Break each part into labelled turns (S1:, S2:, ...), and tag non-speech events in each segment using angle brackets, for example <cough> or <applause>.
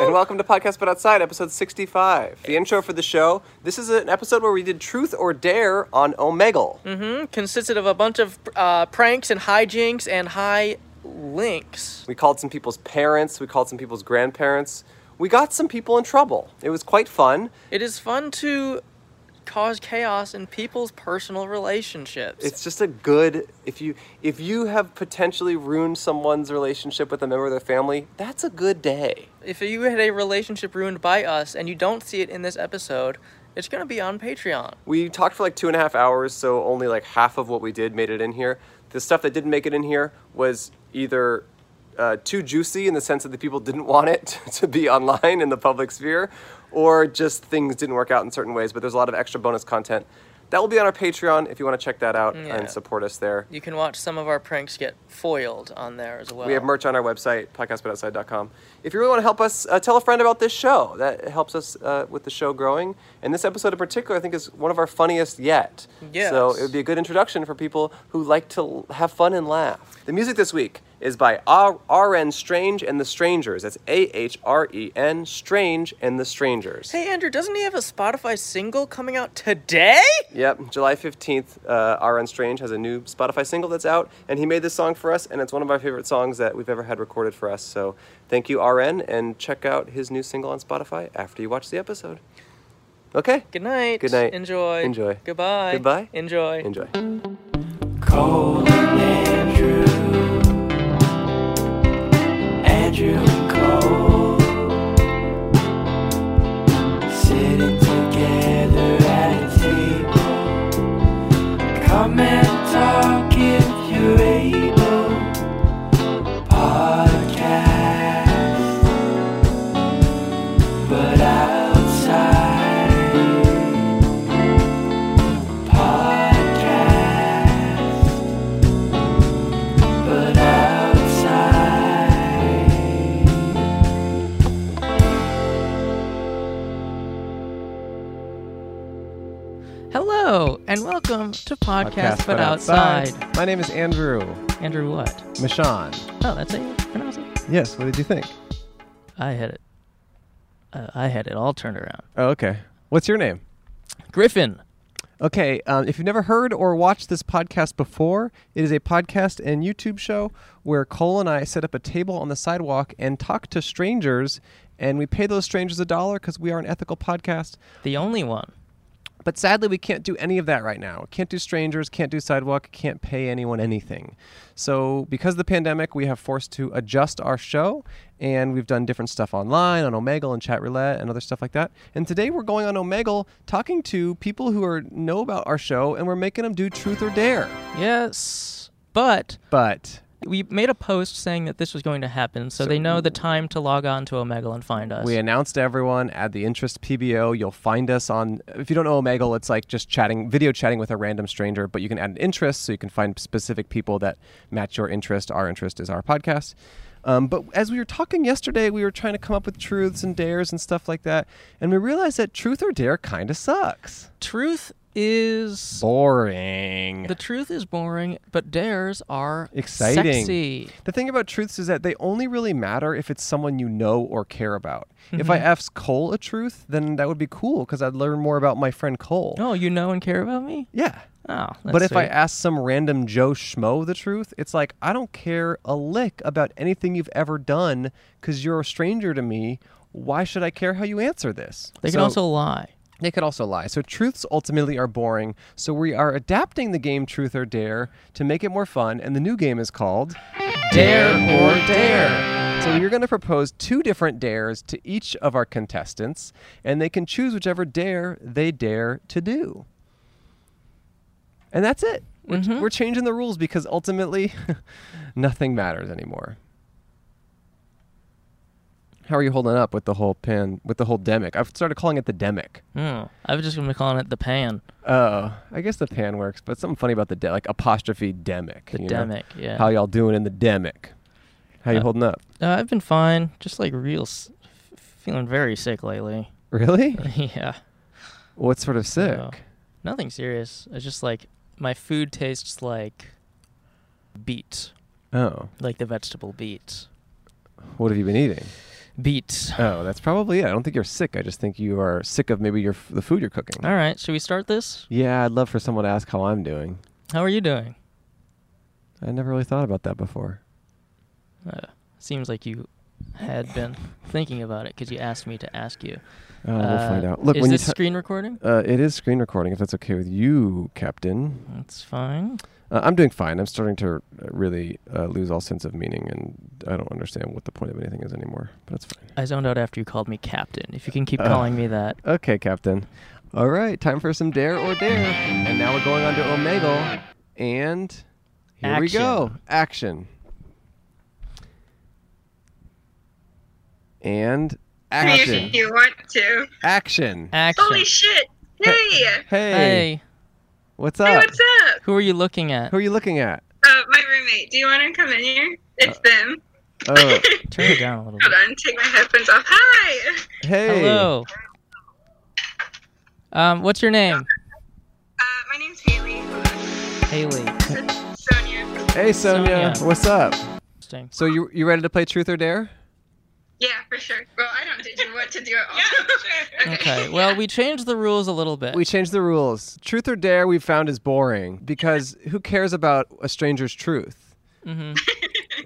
S1: and welcome to Podcast But Outside, episode 65. The intro for the show. This is an episode where we did Truth or Dare on Omegle.
S2: consisted of a bunch of uh, pranks and hijinks and high links.
S1: We called some people's parents, we called some people's grandparents. We got some people in trouble. It was quite fun.
S2: It is fun to cause chaos in people's personal relationships.
S1: It's just a good if you if you have potentially ruined someone's relationship with a member of their family, that's a good day.
S2: if you had a relationship ruined by us and you don't see it in this episode, it's going to be on Patreon.
S1: We talked for like two and a half hours, so only like half of what we did made it in here. The stuff that didn't make it in here was either uh, too juicy in the sense that the people didn't want it <laughs> to be online in the public sphere, or just things didn't work out in certain ways. But there's a lot of extra bonus content that will be on our Patreon if you want to check that out
S2: Yeah.
S1: and support us there.
S2: You can watch some of our pranks get foiled on there as well.
S1: We have merch on our website, podcastbutoutside.com. If you really want to help us, uh, tell a friend about this show. That helps us uh, with the show growing. And this episode in particular, I think, is one of our funniest yet.
S2: Yes.
S1: So it would be a good introduction for people who like to l- have fun and laugh. The music this week is by R- RN Strange and the Strangers. That's A H R E N Strange and the Strangers.
S2: Hey, Andrew, doesn't he have a Spotify single coming out today?
S1: Yep, July 15th, uh, RN Strange has a new Spotify single that's out, and he made this song for us, and it's one of my favorite songs that we've ever had recorded for us. So thank you, RN, and check out his new single on Spotify after you watch the episode. Okay,
S2: Good night.
S1: Good night.
S2: Enjoy.
S1: Enjoy.
S2: Goodbye.
S1: Goodbye.
S2: Enjoy.
S1: enjoy.
S3: Colin Andrew. Andrew and Cole. Sitting together at a table. Come and talk if you're able. Podcast. But outside. Podcast, but outside.
S2: Hello, and welcome to Podcast, But, outside.
S4: My name is Andrew
S2: Andrew, what?
S4: Michon.
S2: Oh, that's how you pronounce it.
S4: Yes, what did you think?
S2: I had it. Uh, I had it all turned around.
S4: Oh, okay. What's your name?
S2: Griffin.
S4: Okay, um, if you've never heard or watched this podcast before, it is a podcast and YouTube show where Cole and I set up a table on the sidewalk and talk to strangers, and we pay those strangers a dollar because we are an ethical podcast.
S2: The only one.
S4: But sadly, we can't do any of that right now. Can't do strangers, can't do sidewalk, can't pay anyone anything. So, because of the pandemic, we have forced to adjust our show, and we've done different stuff online on Omegle and Chat Roulette and other stuff like that. And today, we're going on Omegle, talking to people who are know about our show, and we're making them do Truth or Dare.
S2: Yes. But
S4: But
S2: we made a post saying that this was going to happen, so, they know the time to log on to Omegle and find us.
S4: we announced to everyone at the Interest PBO. You'll find us on. If you don't know Omegle, it's like just chatting, video chatting with a random stranger. But you can add an interest, so you can find specific people that match your interest. Our interest is our podcast. Um, but as we were talking yesterday, we were trying to come up with truths and dares and stuff like that, and we realized that truth or dare kind of sucks.
S2: truth is
S4: Boring.
S2: the truth is boring, but dares are
S4: Exciting.
S2: Sexy.
S4: The thing about truths is that they only really matter if it's someone you know or care about. If
S2: Mm-hmm.
S4: I asked Cole a truth, then that would be cool because I'd learn more about my friend Cole.
S2: Oh, you know and care about me?
S4: Yeah.
S2: Oh, that's
S4: but if I
S2: sweet.
S4: ask some random Joe Schmo the truth, it's like, I don't care a lick about anything you've ever done because you're a stranger to me. Why should I care how you answer this?
S2: they can
S4: So-
S2: also lie.
S4: they could also lie. So truths ultimately are boring. So we are adapting the game Truth or Dare to make it more fun, and the new game is called Dare or Dare. So you're going to propose two different dares to each of our contestants, and they can choose whichever dare they dare to do. And that's it. We're, we're changing the rules because ultimately <laughs> nothing matters anymore. How are you holding up with the whole pan with the whole demic? I've started calling it the demic.
S2: Hmm. I was just gonna be calling it the pan.
S4: Oh, I guess the pan works, but something funny about the de- like apostrophe demic.
S2: The
S4: you know?
S2: demic, yeah.
S4: How y'all doing in the demic? How you
S2: Uh,
S4: holding up?
S2: Uh, I've been fine. Just like real, s- f- feeling very
S4: <laughs>
S2: sick lately. <laughs>
S4: Really?
S2: yeah,
S4: What sort
S2: Oh.
S4: of sick?
S2: know. nothing serious. It's just like my food tastes like beet,
S4: Oh,
S2: like the vegetable beet. <laughs>
S4: what Oh, have you been eating?
S2: beat.
S4: Oh, that's probably it. I don't think you're sick. I just think you are sick of maybe your f- the food you're cooking.
S2: All right, should we start this?
S4: Yeah, I'd love for someone to ask how I'm doing.
S2: How are you doing?
S4: I never really thought about that before.
S2: Uh, seems like you had been thinking about it because you asked me to ask you.
S4: Oh,
S2: Uh,
S4: we'll find out. Look,
S2: is
S4: when you
S2: this
S4: ta-
S2: screen recording?
S4: uh, it is screen recording, if that's okay with you, Captain.
S2: That's fine.
S4: Uh, I'm doing fine. I'm starting to uh, really uh, lose all sense of meaning, and I don't understand what the point of anything is anymore. But it's fine.
S2: I zoned out after you called me captain. If you can keep
S4: Uh.
S2: calling me that,
S4: Okay, Captain. All right, time for some dare or dare, and now we're going on to Omegle, and here we go. Action. And
S5: If
S4: action.
S5: you want to.
S4: Action.
S2: action.
S5: Holy shit! Hey!
S4: Hey,
S2: hey,
S4: what's
S5: Hey,
S4: up?
S5: what's up?
S2: who are you looking at?
S4: Who are you looking at? <laughs>
S5: Uh, my roommate. Do you want to come in here? It's them. <laughs>
S4: Oh,
S2: Turn it down a little bit.
S5: Hold on. Take my headphones off. Hi.
S4: hey.
S2: Hello. Um, what's your name?
S5: Uh, my name's Haley. Hold on.
S2: Haley.
S5: Sonia.
S4: Hey, Sonia.
S2: Sonia.
S4: What's up?
S2: Interesting.
S4: So you you ready to play Truth or Dare?
S5: Yeah, for sure. Well, I don't teach you what to do at all. <laughs>
S2: Okay. Well, we changed the rules a little bit.
S4: We changed the rules. Truth or Dare we found is boring because who cares about a stranger's truth,
S2: hmm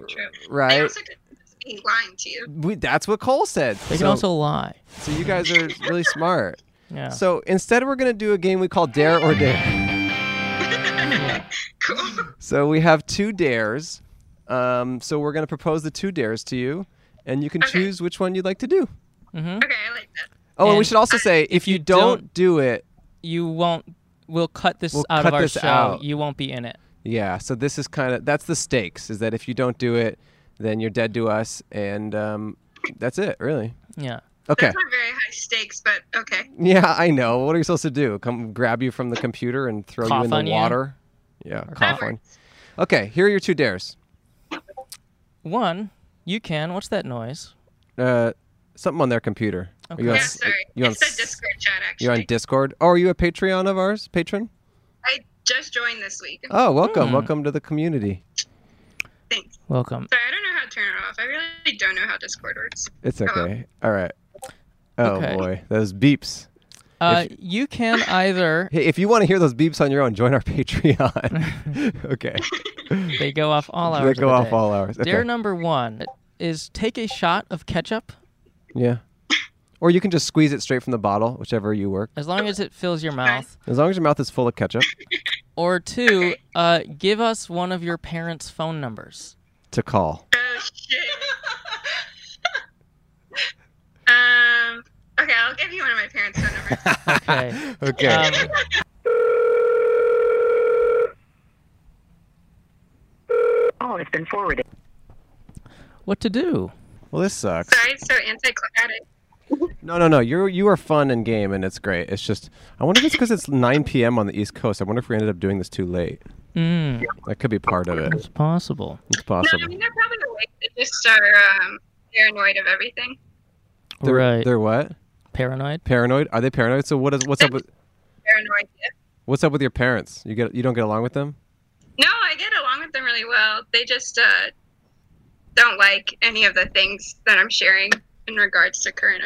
S5: True. They
S4: right?
S5: also could just be lying
S4: <laughs>
S5: to you. <laughs>
S4: We, that's what Cole said.
S2: They can
S4: so,
S2: also lie.
S4: so you guys are really smart.
S2: <laughs> Yeah.
S4: So instead, we're gonna do a game we call Dare or Dare.
S5: Cool.
S4: So we have two dares. Um, so we're gonna propose the two dares to you, and you can
S5: Okay.
S4: choose which one you'd like to do.
S2: hmm
S5: Okay, I like that.
S4: Oh, and, we
S2: And
S4: should also say if, you,
S2: you
S4: don't, do it,
S2: You won't. We'll cut this
S4: We'll
S2: out
S4: cut
S2: of our
S4: this
S2: show.
S4: out.
S2: You won't be in it.
S4: yeah. So this is kind of that's the stakes. Is that if you don't do it, then you're dead to us, and um, that's it, really.
S2: Yeah.
S4: Okay.
S5: Those were very high stakes, but okay.
S4: Yeah, I know. What are you supposed to do? Come grab you from the computer and throw
S2: Cough
S4: you in
S2: on
S4: the
S2: you?
S4: water? Yeah, cough
S5: That
S4: on. Okay, here are your two dares.
S2: One, you can. What's that noise?
S4: Uh, something on their computer. Are
S2: Okay.
S4: you on,
S5: Yeah,
S4: s-
S5: sorry.
S4: You on,
S5: it's the
S4: s-
S5: Discord chat, actually.
S4: You're on Discord. Oh, are you a Patreon of ours? Patron?
S5: I just joined this week.
S4: Oh, welcome.
S2: Hmm.
S4: Welcome to the community.
S5: Thanks.
S2: Welcome.
S5: Sorry, I don't know how to turn it off. I really don't know how Discord works.
S4: It's
S5: Hello.
S4: okay. All right. Oh,
S2: Okay.
S4: boy. Those beeps.
S2: Uh, you can either.
S4: Hey, if you want to hear those beeps on your own, join our <laughs>
S2: <laughs>
S4: Patreon. okay.
S2: They go off all
S4: They
S2: hours.
S4: go
S2: of the
S4: off
S2: day.
S4: all hours. Okay.
S2: Dare number one is take a shot of ketchup
S4: yeah. Or you can just squeeze it straight from the bottle, whichever you work.
S2: as long as it fills your mouth.
S4: As long as your mouth is full of ketchup.
S2: Or two, uh, give us one of your parents' phone numbers.
S4: to call.
S5: Oh shit. <laughs> um. Okay, I'll give you one of my parents' phone numbers.
S2: Okay.
S4: Okay.
S2: Um,
S6: Oh, it's been forwarded.
S2: what to do?
S4: well, this sucks.
S5: Sorry, it's so anticlimactic.
S4: No, no, no. You're you are fun and game, and it's great. It's just I wonder if it's because it's 9 p.m. on the East Coast. I wonder if we ended up doing this too late.
S2: Mm,
S4: That could be part of it.
S2: it's possible.
S4: It's
S5: No, I
S4: possible.
S5: mean they're probably awake. They just are um, paranoid of everything.
S4: They're,
S2: right.
S4: They're what?
S2: Paranoid.
S4: Paranoid? Are they paranoid? So what is what's up with
S5: Paranoid. yeah.
S4: what's up with your parents? You get you don't get along with them?
S5: No, I get along with them really well. They just uh, don't like any of the things that I'm sharing in regards to current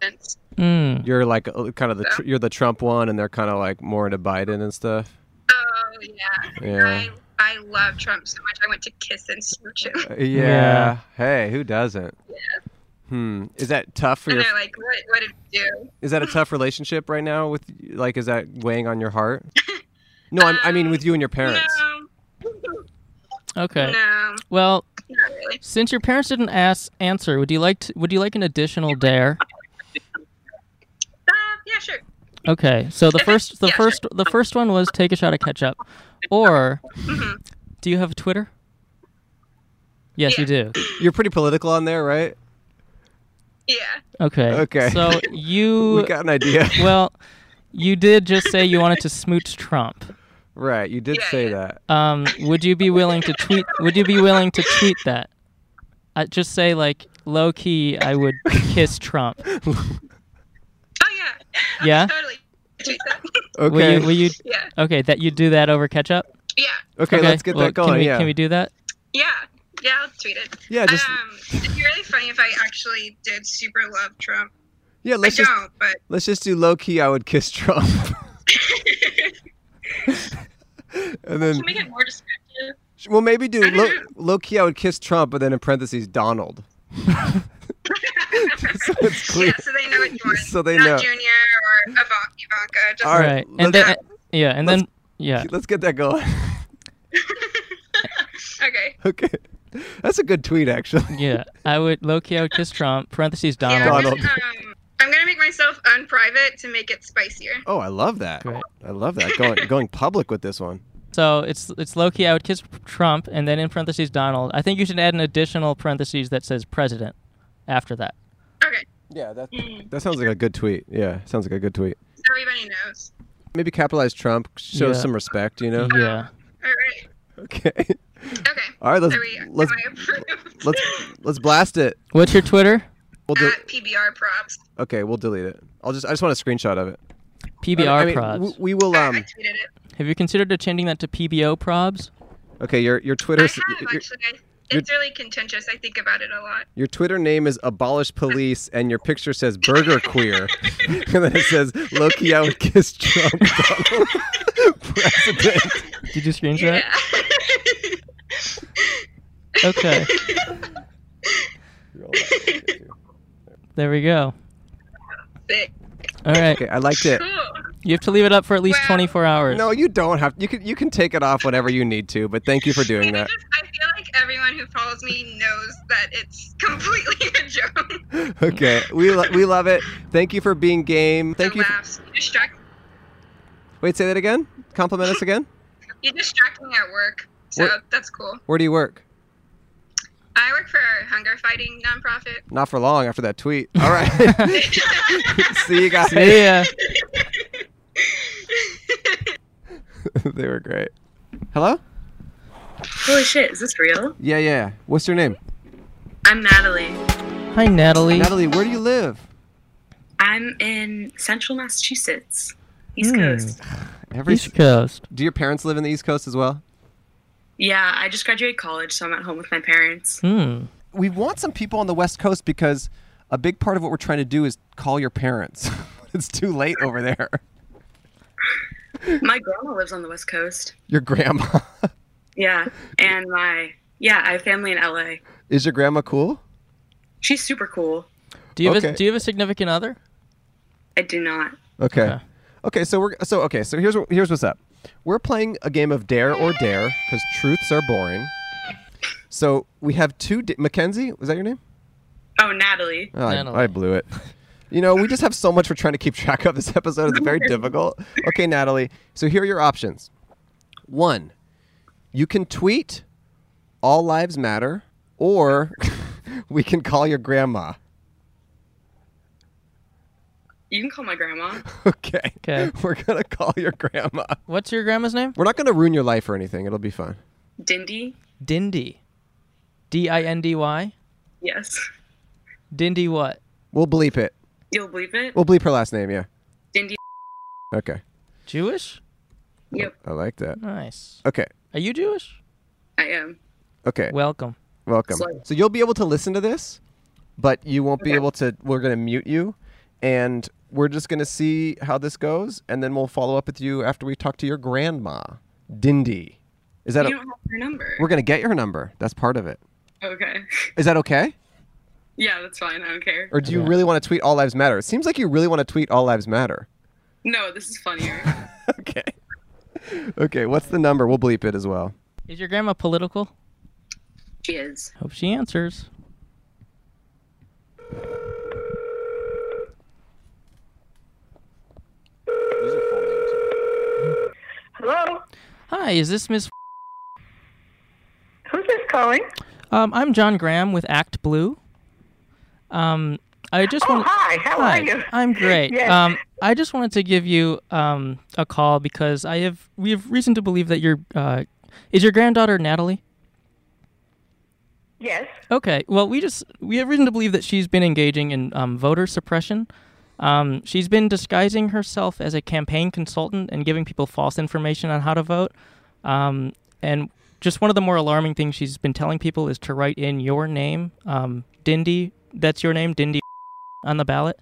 S5: events.
S2: Mm.
S4: You're like uh, kind of the tr- you're the Trump one, and they're kind of like more into Biden and stuff.
S5: Oh yeah.
S4: Yeah.
S5: I I love Trump so much. I went to kiss and smooch him.
S4: Uh, Yeah.
S2: Yeah.
S4: Hey, who doesn't? Hmm. Is that tough for
S5: And
S4: your?
S5: they're like, what, what did you do?
S4: Is
S5: <laughs>
S4: that a tough relationship right now? With like, is that weighing on your
S5: <laughs>
S4: heart? No, I'm, I mean
S5: Um,
S4: with you and your parents. <laughs>
S5: No.
S2: Okay.
S5: No,
S2: Well,
S5: not really.
S2: since your parents didn't ask answer, would you like to, would you like an additional dare?
S5: Uh, yeah, sure.
S2: Okay. So the first the
S5: Yeah, sure.
S2: first the first one was take a shot of ketchup, or
S5: Mhm.
S2: do you have Twitter? Yes, you do.
S4: You're pretty political on there, right?
S5: Yeah.
S2: Okay.
S4: Okay.
S2: So
S4: <laughs> We
S2: you
S4: got an
S2: <laughs>
S4: idea.
S2: well, you did just say you wanted to smooch Trump.
S4: right, you did
S5: Yeah,
S4: say
S5: yeah.
S4: that.
S2: Um, would you be willing to tweet? Would you be willing to tweet that? I just say like low key, I would kiss Trump.
S5: Oh, yeah. <laughs>
S2: Yeah.
S5: Totally. Tweet that. <laughs>
S4: Okay.
S2: Will you? Will you?
S5: yeah.
S2: Okay. That you do that over ketchup.
S5: Yeah.
S4: okay, let's get
S2: well,
S4: that going.
S2: Can we,
S4: yeah.
S2: can we do that?
S5: Yeah. Yeah, I'll tweet it.
S4: Yeah, just
S5: um, it'd be really funny if I actually did super love Trump.
S4: yeah. Let's
S5: I
S4: just
S5: don't, but <laughs>
S4: let's just do low key. I would kiss <laughs> Trump, and then
S5: to make it more descriptive,
S4: well maybe do
S5: I
S4: low,
S5: don't
S4: low key. I would kiss Trump, but then in parentheses Donald. <laughs> so it's clear.
S5: <laughs> yeah, so they know what you want.
S4: So they
S5: Not
S4: know.
S5: Junior or Ivan- Ivanka. Just
S4: All right,
S2: right. And
S4: let's-
S2: then yeah, and then yeah.
S4: <laughs> Let's get that going.
S5: okay.
S4: okay, that's a good tweet actually.
S2: Yeah, I would Loki. I would kiss Trump. Parentheses
S5: Yeah,
S2: Donald.
S5: I'm, just, um, I'm gonna make myself unprivate to make it spicier.
S4: <laughs> Oh, I love that.
S2: Great.
S4: I love that going going public with this one.
S2: So it's it's Loki. I would kiss Trump, and then in parentheses Donald. I think you should add an additional parentheses that says president after that.
S5: Okay,
S4: Yeah, that that sounds like a good tweet. Yeah, sounds like a good tweet.
S5: so everybody knows.
S4: Maybe capitalize Trump, show
S2: Yeah.
S4: some respect, you know.
S2: Yeah.
S5: All right.
S4: <laughs> Okay.
S5: Okay.
S4: All right, let's
S5: There we are.
S4: let's
S5: I approve. <laughs>
S4: let's let's blast it.
S2: What's your Twitter?
S4: We'll do.
S5: At PBR props.
S4: Okay, we'll delete it. I'll just I just want a screenshot of it.
S2: PBR
S4: I mean,
S2: probs.
S4: w- We, will
S5: I- Uh, I
S4: um.
S5: tweeted it.
S2: Have you considered changing that to PBO probs?
S4: Okay, your your
S5: I
S4: Twitter
S5: have
S4: s- your,
S5: actually. I- It's really contentious. I think about it a lot.
S4: your Twitter name is abolish police, and your picture
S5: <laughs>
S4: says burger queer, <laughs> and then it says Loki I would kiss Trump <laughs> Donald, president.
S2: Did you screenshot?
S5: Yeah.
S2: <laughs> Okay. There we go.
S5: <laughs> Sick.
S2: All right.
S4: Okay, I liked it.
S5: Cool.
S2: You have to leave it up for at least
S5: Wow.
S2: 24 hours.
S4: No, you don't have. You can you can take it off whenever you need to, but thank you for doing
S5: And I
S4: that.
S5: just I feel like everyone who follows me knows that it's completely <laughs> a
S4: <laughs>
S5: joke.
S4: Okay, we lo- we love it. Thank you for being game. Thank
S5: the
S4: you. For-
S5: Laughs. You distract.
S4: Wait, say that again. Compliment us again.
S5: You distract me at work, so
S4: What-
S5: that's cool.
S4: Where do you work?
S5: I work for a hunger fighting nonprofit.
S4: Not for long after that tweet. All right. See you guys.
S2: Yeah.
S4: <laughs> they were great. Hello?
S7: Holy shit, is this real?
S4: Yeah, yeah. What's your name?
S7: I'm Natalie.
S2: Hi, Natalie.
S4: Natalie, where do you live?
S7: I'm in central Massachusetts, East
S2: Hmm.
S7: Coast.
S4: Every
S2: East Coast.
S4: Do your parents live in the East Coast as well?
S7: Yeah, I just graduated college, so I'm at home with my parents.
S2: Hmm.
S4: We want some people on the West Coast because a big part of what we're trying to do is call your parents. <laughs> it's too late over there.
S7: My grandma lives on the West Coast.
S4: Your grandma. <laughs>
S7: Yeah, and my yeah, I have family in LA.
S4: is your grandma cool?
S7: She's super cool.
S2: Do you have
S4: Okay.
S2: a, do you have a significant other?
S7: I do not.
S4: Okay.
S2: Okay.
S4: Okay, so we're so okay. So here's what- here's what's up. We're playing a game of Dare or Dare because truths are boring. So we have two. Da- Mackenzie, was that your name?
S7: Oh, Natalie.
S4: Oh,
S2: Natalie.
S4: I, I blew it. You know, we just have so much we're trying to keep track of. This episode It's very difficult. Okay, Natalie. So here are your options. One, you can tweet "All Lives Matter," or <laughs> we can call your grandma. <laughs>
S7: You can call my grandma.
S4: Okay.
S2: Okay.
S4: We're gonna call your grandma.
S2: What's your grandma's name?
S4: We're not gonna ruin your life or anything. It'll be fun.
S7: Dindy.
S2: Dindy. D I N D Y.
S7: Yes.
S2: Dindy what?
S4: We'll bleep it.
S7: You'll believe it.
S4: We'll bleep her last name. Yeah.
S7: Dindy.
S4: Okay.
S2: Jewish?
S7: Yep,
S4: I like that.
S2: Nice.
S4: Okay.
S2: Are you Jewish?
S7: I am.
S4: Okay.
S2: Welcome.
S4: Welcome.
S7: Sorry.
S4: So you'll be able to listen to this, but you won't be able to. We're going to mute you, and we're just going to see how this goes, and then we'll follow up with you after we talk to your grandma, Dindy. Is that?
S7: You
S4: A,
S7: don't have her number.
S4: we're going to get your number. That's part of it.
S7: Okay. <laughs>
S4: Is that okay?
S7: Yeah, that's fine. I don't care.
S4: Or do you
S2: Yeah.
S4: really want to tweet "All Lives Matter"? It seems like you really want to tweet "All Lives Matter." <laughs>
S7: No, this is funnier.
S4: okay. Okay. What's the number? We'll bleep it as well.
S2: Is your grandma political?
S7: she is.
S2: Hope she answers.
S6: Hello?
S2: Hi, is this Miss?
S6: Who's this calling?
S2: Um, I'm John Graham with Act Blue. Um, I just
S6: Oh,
S4: Mm.
S2: want.
S6: <laughs> hi. How
S2: Hi,
S6: are you?
S2: I'm great.
S6: Yes.
S2: Um, I just wanted to give you um, a call because I have we have reason to believe that your uh, is your granddaughter Natalie.
S6: Yes.
S2: Okay. Well, we just we have reason to believe that she's been engaging in um, voter suppression. Um, she's been disguising herself as a campaign consultant and giving people false information on how to vote. Um, and just one of the more alarming things she's been telling people is to write in your name, um, Dindy. That's your name, Dindy, on the ballot.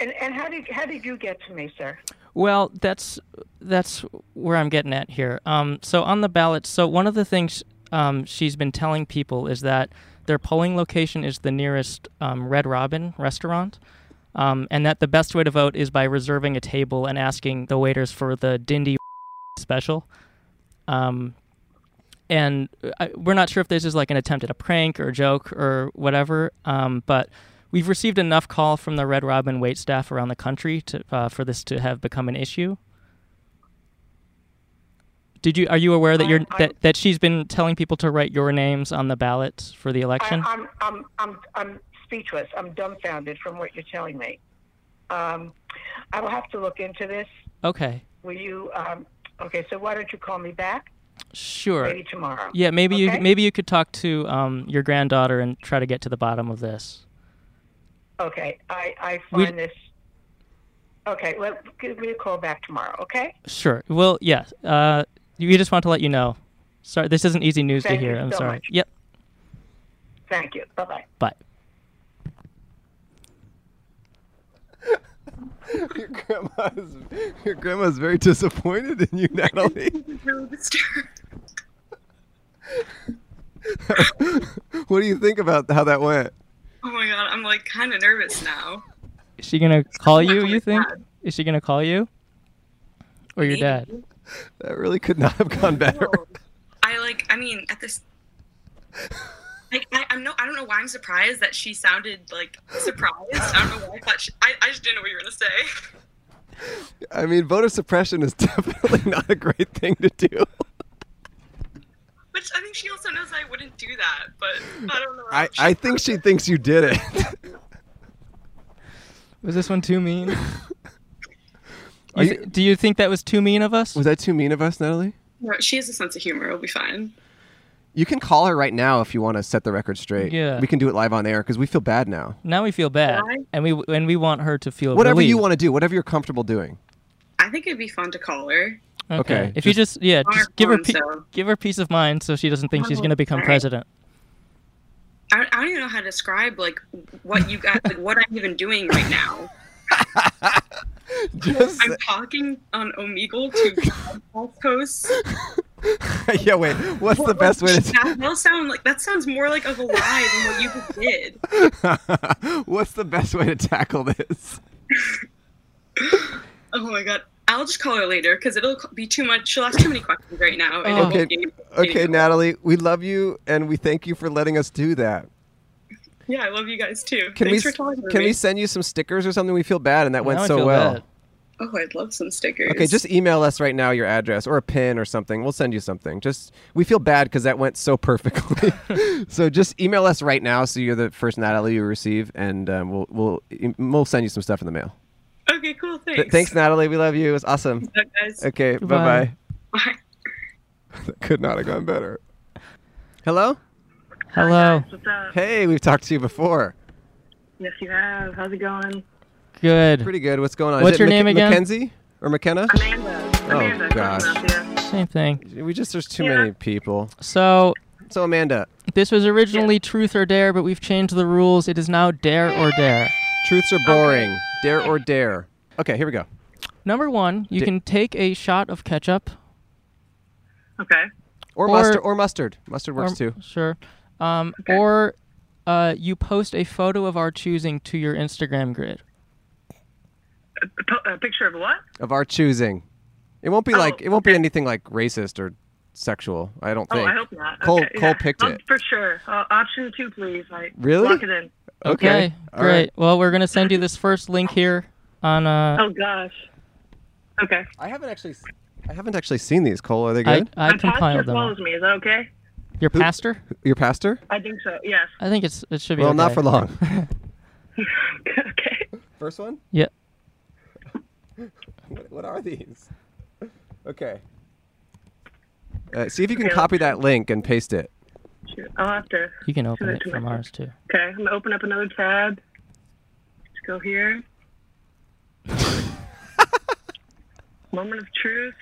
S6: And, and how did how did you get to me, sir?
S2: Well, that's that's where I'm getting at here. Um, so on the ballot, so one of the things um, she's been telling people is that their polling location is the nearest um, Red Robin restaurant, um, and that the best way to vote is by reserving a table and asking the waiters for the Dindy <laughs> special. Um, and uh, I, we're not sure if this is like an attempt at a prank or a joke or whatever. Um, but we've received enough call from the Red Robin wait staff around the country to, uh, for this to have become an issue. Did you are you aware that you're
S6: I-
S2: that, that she's been telling people to write your names on the ballots for the
S6: I,
S2: election?
S6: I'm I'm I'm I'm speechless. I'm dumbfounded from what you're telling me. Um, I will have to look into this.
S2: okay,
S6: Will you? Um, okay, so why don't you call me back
S2: sure.
S6: maybe tomorrow?
S2: Yeah, maybe
S6: Okay?
S2: you maybe you could talk to um, your granddaughter and try to get to the bottom of this.
S6: Okay, I I
S2: We-
S6: find this. Okay, well, give me a call back tomorrow. Okay.
S2: Sure. Well, yeah. Uh, we just want to let you know. Sorry, this isn't easy news
S6: Thank
S2: to
S6: you
S2: hear. I'm
S6: so
S2: sorry.
S6: much.
S2: Yep.
S6: Thank you. Bye bye.
S2: Bye.
S4: Your grandma's, your grandma's very disappointed in you, Natalie. <laughs>
S8: Really disturbed.
S4: what do you think about how that went?
S8: Oh my god, I'm like kind of nervous now.
S2: Is she gonna call you?
S8: my
S2: You think?
S8: God.
S2: Is she gonna call you? Or your dad?
S4: That really could not have gone better.
S8: I like. I mean, at this. Like I, I'm no, I don't know why I'm surprised that she sounded like surprised. I don't know why I thought she, I, I just didn't know what you were gonna say. <laughs>
S4: I mean, voter suppression is <laughs> definitely not a great thing to do.
S8: Which I think she also knows I wouldn't do that, but I don't know.
S4: I, I think she thinks you did it. <laughs>
S2: Was this one too mean? <laughs> You
S4: Are
S2: thi- do you think that was too mean of us?
S4: Was that too mean of us, Natalie?
S8: No, she has a sense of humor. It'll be fine.
S4: You can call her right now if you want to set the record straight.
S2: Yeah.
S4: We can do it live on air because we feel bad now.
S2: now we feel bad,
S8: Why?
S2: and we and we want her to feel
S4: Whatever you
S2: relieved.
S4: want to do, whatever you're comfortable doing.
S8: I think it'd be fun to call her.
S2: Okay.
S4: Okay,
S2: If you just yeah,
S8: On her
S2: just give her
S8: phone,
S2: pe-
S8: so-
S2: give her peace of mind so she doesn't think she's
S8: Oh,
S2: gonna become
S8: alright.
S2: president.
S8: I don't, I don't even know how to describe like what you got, like what I'm even doing right now.
S4: Just <laughs>
S8: I'm talking on Omegle to podcast hosts.
S4: <laughs> yeah. Wait, what's the best way to
S8: That will sound like that sounds more like of a lie than what you just
S4: <laughs>
S8: did.
S4: what's the best way to tackle this?
S8: Oh my god. I'll just call her later because it'll be too much. She'll ask too many questions right now. And it
S4: Okay.
S8: won't be-
S4: Okay, Natalie, we love you and we thank you for letting us do that.
S8: Yeah, I love you guys too.
S4: Can
S8: Thanks
S4: we
S8: for talking to
S4: can
S8: me.
S4: we send you some stickers or something? We feel bad and that went
S2: Now I
S4: so
S2: feel
S4: well.
S2: bad.
S8: Oh, I'd love some stickers.
S4: Okay, just email us right now your address or a pin or something. We'll send you something. Just we feel bad because that went so
S2: <laughs>
S4: perfectly. so just email us right now, so you're the first Natalie you receive, and um, we'll we'll em- we'll send you some stuff in the mail.
S8: okay, cool. Thanks.
S4: Th- thanks, Natalie. We love you. It's awesome.
S8: Bye, guys.
S4: Okay, bye bye.
S2: Goodbye.
S8: Bye.
S4: <laughs> Could not have gone better. Hello.
S2: Hello.
S6: What's up?
S4: Hey, we've talked to you before.
S6: Yes, you have. How's it going?
S2: Good.
S4: Pretty good. What's going on? Is
S2: What's
S4: it
S2: your
S4: Mc-
S2: name again?
S4: Mackenzie or McKenna?
S6: Amanda.
S8: Oh,
S6: Amanda.
S4: gosh.
S2: Same thing.
S4: We just there's too
S6: Yeah.
S4: many people.
S2: So
S4: So Amanda,
S2: This was originally truth or dare, but we've changed the rules. It is now dare or dare.
S4: truths are boring. Dare or dare. Okay, here we go.
S2: Number one, you
S4: Da-
S2: can take a shot of ketchup.
S6: Okay.
S4: Or,
S2: Or-
S4: mustard. Or mustard. Mustard works
S2: or,
S4: too.
S2: Sure. Um, Or uh, you post a photo of our choosing to your Instagram grid.
S6: A, po- a picture of what?
S4: Of our choosing. It won't
S6: Oh,
S4: be like it won't be anything like racist or sexual. I don't think.
S6: Oh, I hope not.
S4: Cole-
S6: okay,
S4: Cole
S6: yeah.
S4: picked
S6: Oh,
S4: it.
S6: For sure. Uh, option two, please. I
S4: Really?
S6: Lock it in.
S4: okay. All
S2: great.
S4: right.
S2: Well, we're gonna send you this first link here on. Uh,
S6: Oh gosh. Okay.
S4: I haven't actually s- I haven't actually seen these, Cole. Are they
S2: I,
S4: good?
S2: I
S6: My pastor
S2: compiled them. all.
S6: follows me. Is that okay?
S2: Your pastor?
S4: Your pastor?
S6: I think so.
S9: <laughs>
S6: Yes.
S2: I think it's it should be.
S4: Well, not
S2: okay.
S4: for
S2: <laughs>
S4: long.
S6: okay.
S4: First one?
S2: Yeah.
S4: What, what are these? <laughs> Okay. Uh, see if you can
S6: Okay,
S4: copy that link and paste it. <laughs>
S6: Shoot, I'll have to.
S2: You can open
S6: Send
S2: it
S6: to
S2: from
S6: my-
S2: ours too.
S6: Okay. I'm gonna open up another tab.
S4: <laughs>
S6: Let's go here.
S9: Moment of truth.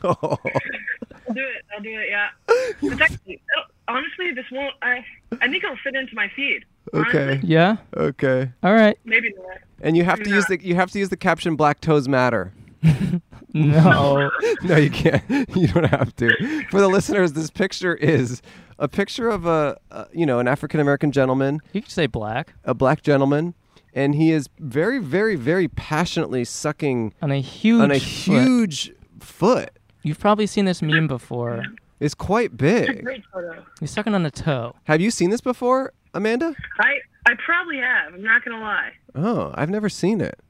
S4: Go.
S9: I'll do it. I'll do it. Yeah. It's actually, it'll- honestly, this won't. I I think it'll fit into my feed. Honestly,
S4: Okay.
S2: Yeah.
S4: Okay.
S2: All right.
S9: Maybe not.
S4: And you have to use the you have to use the caption "Black Toes Matter." <laughs>
S2: No.
S4: <laughs> No, you can't. <laughs> You don't have to. For the listeners, this picture is a picture of a, a you know an African American gentleman,
S2: <laughs> you can say black
S4: a black gentleman, and he is very, very, very passionately sucking
S2: on a huge.
S4: on a
S2: foot.
S4: huge foot.
S2: You've probably seen this meme before.
S4: It's quite big.
S9: Great photo.
S2: He's sucking on a toe.
S4: Have you seen this before, Amanda?
S9: I I probably have. I'm not gonna lie.
S4: Oh, I've never seen it.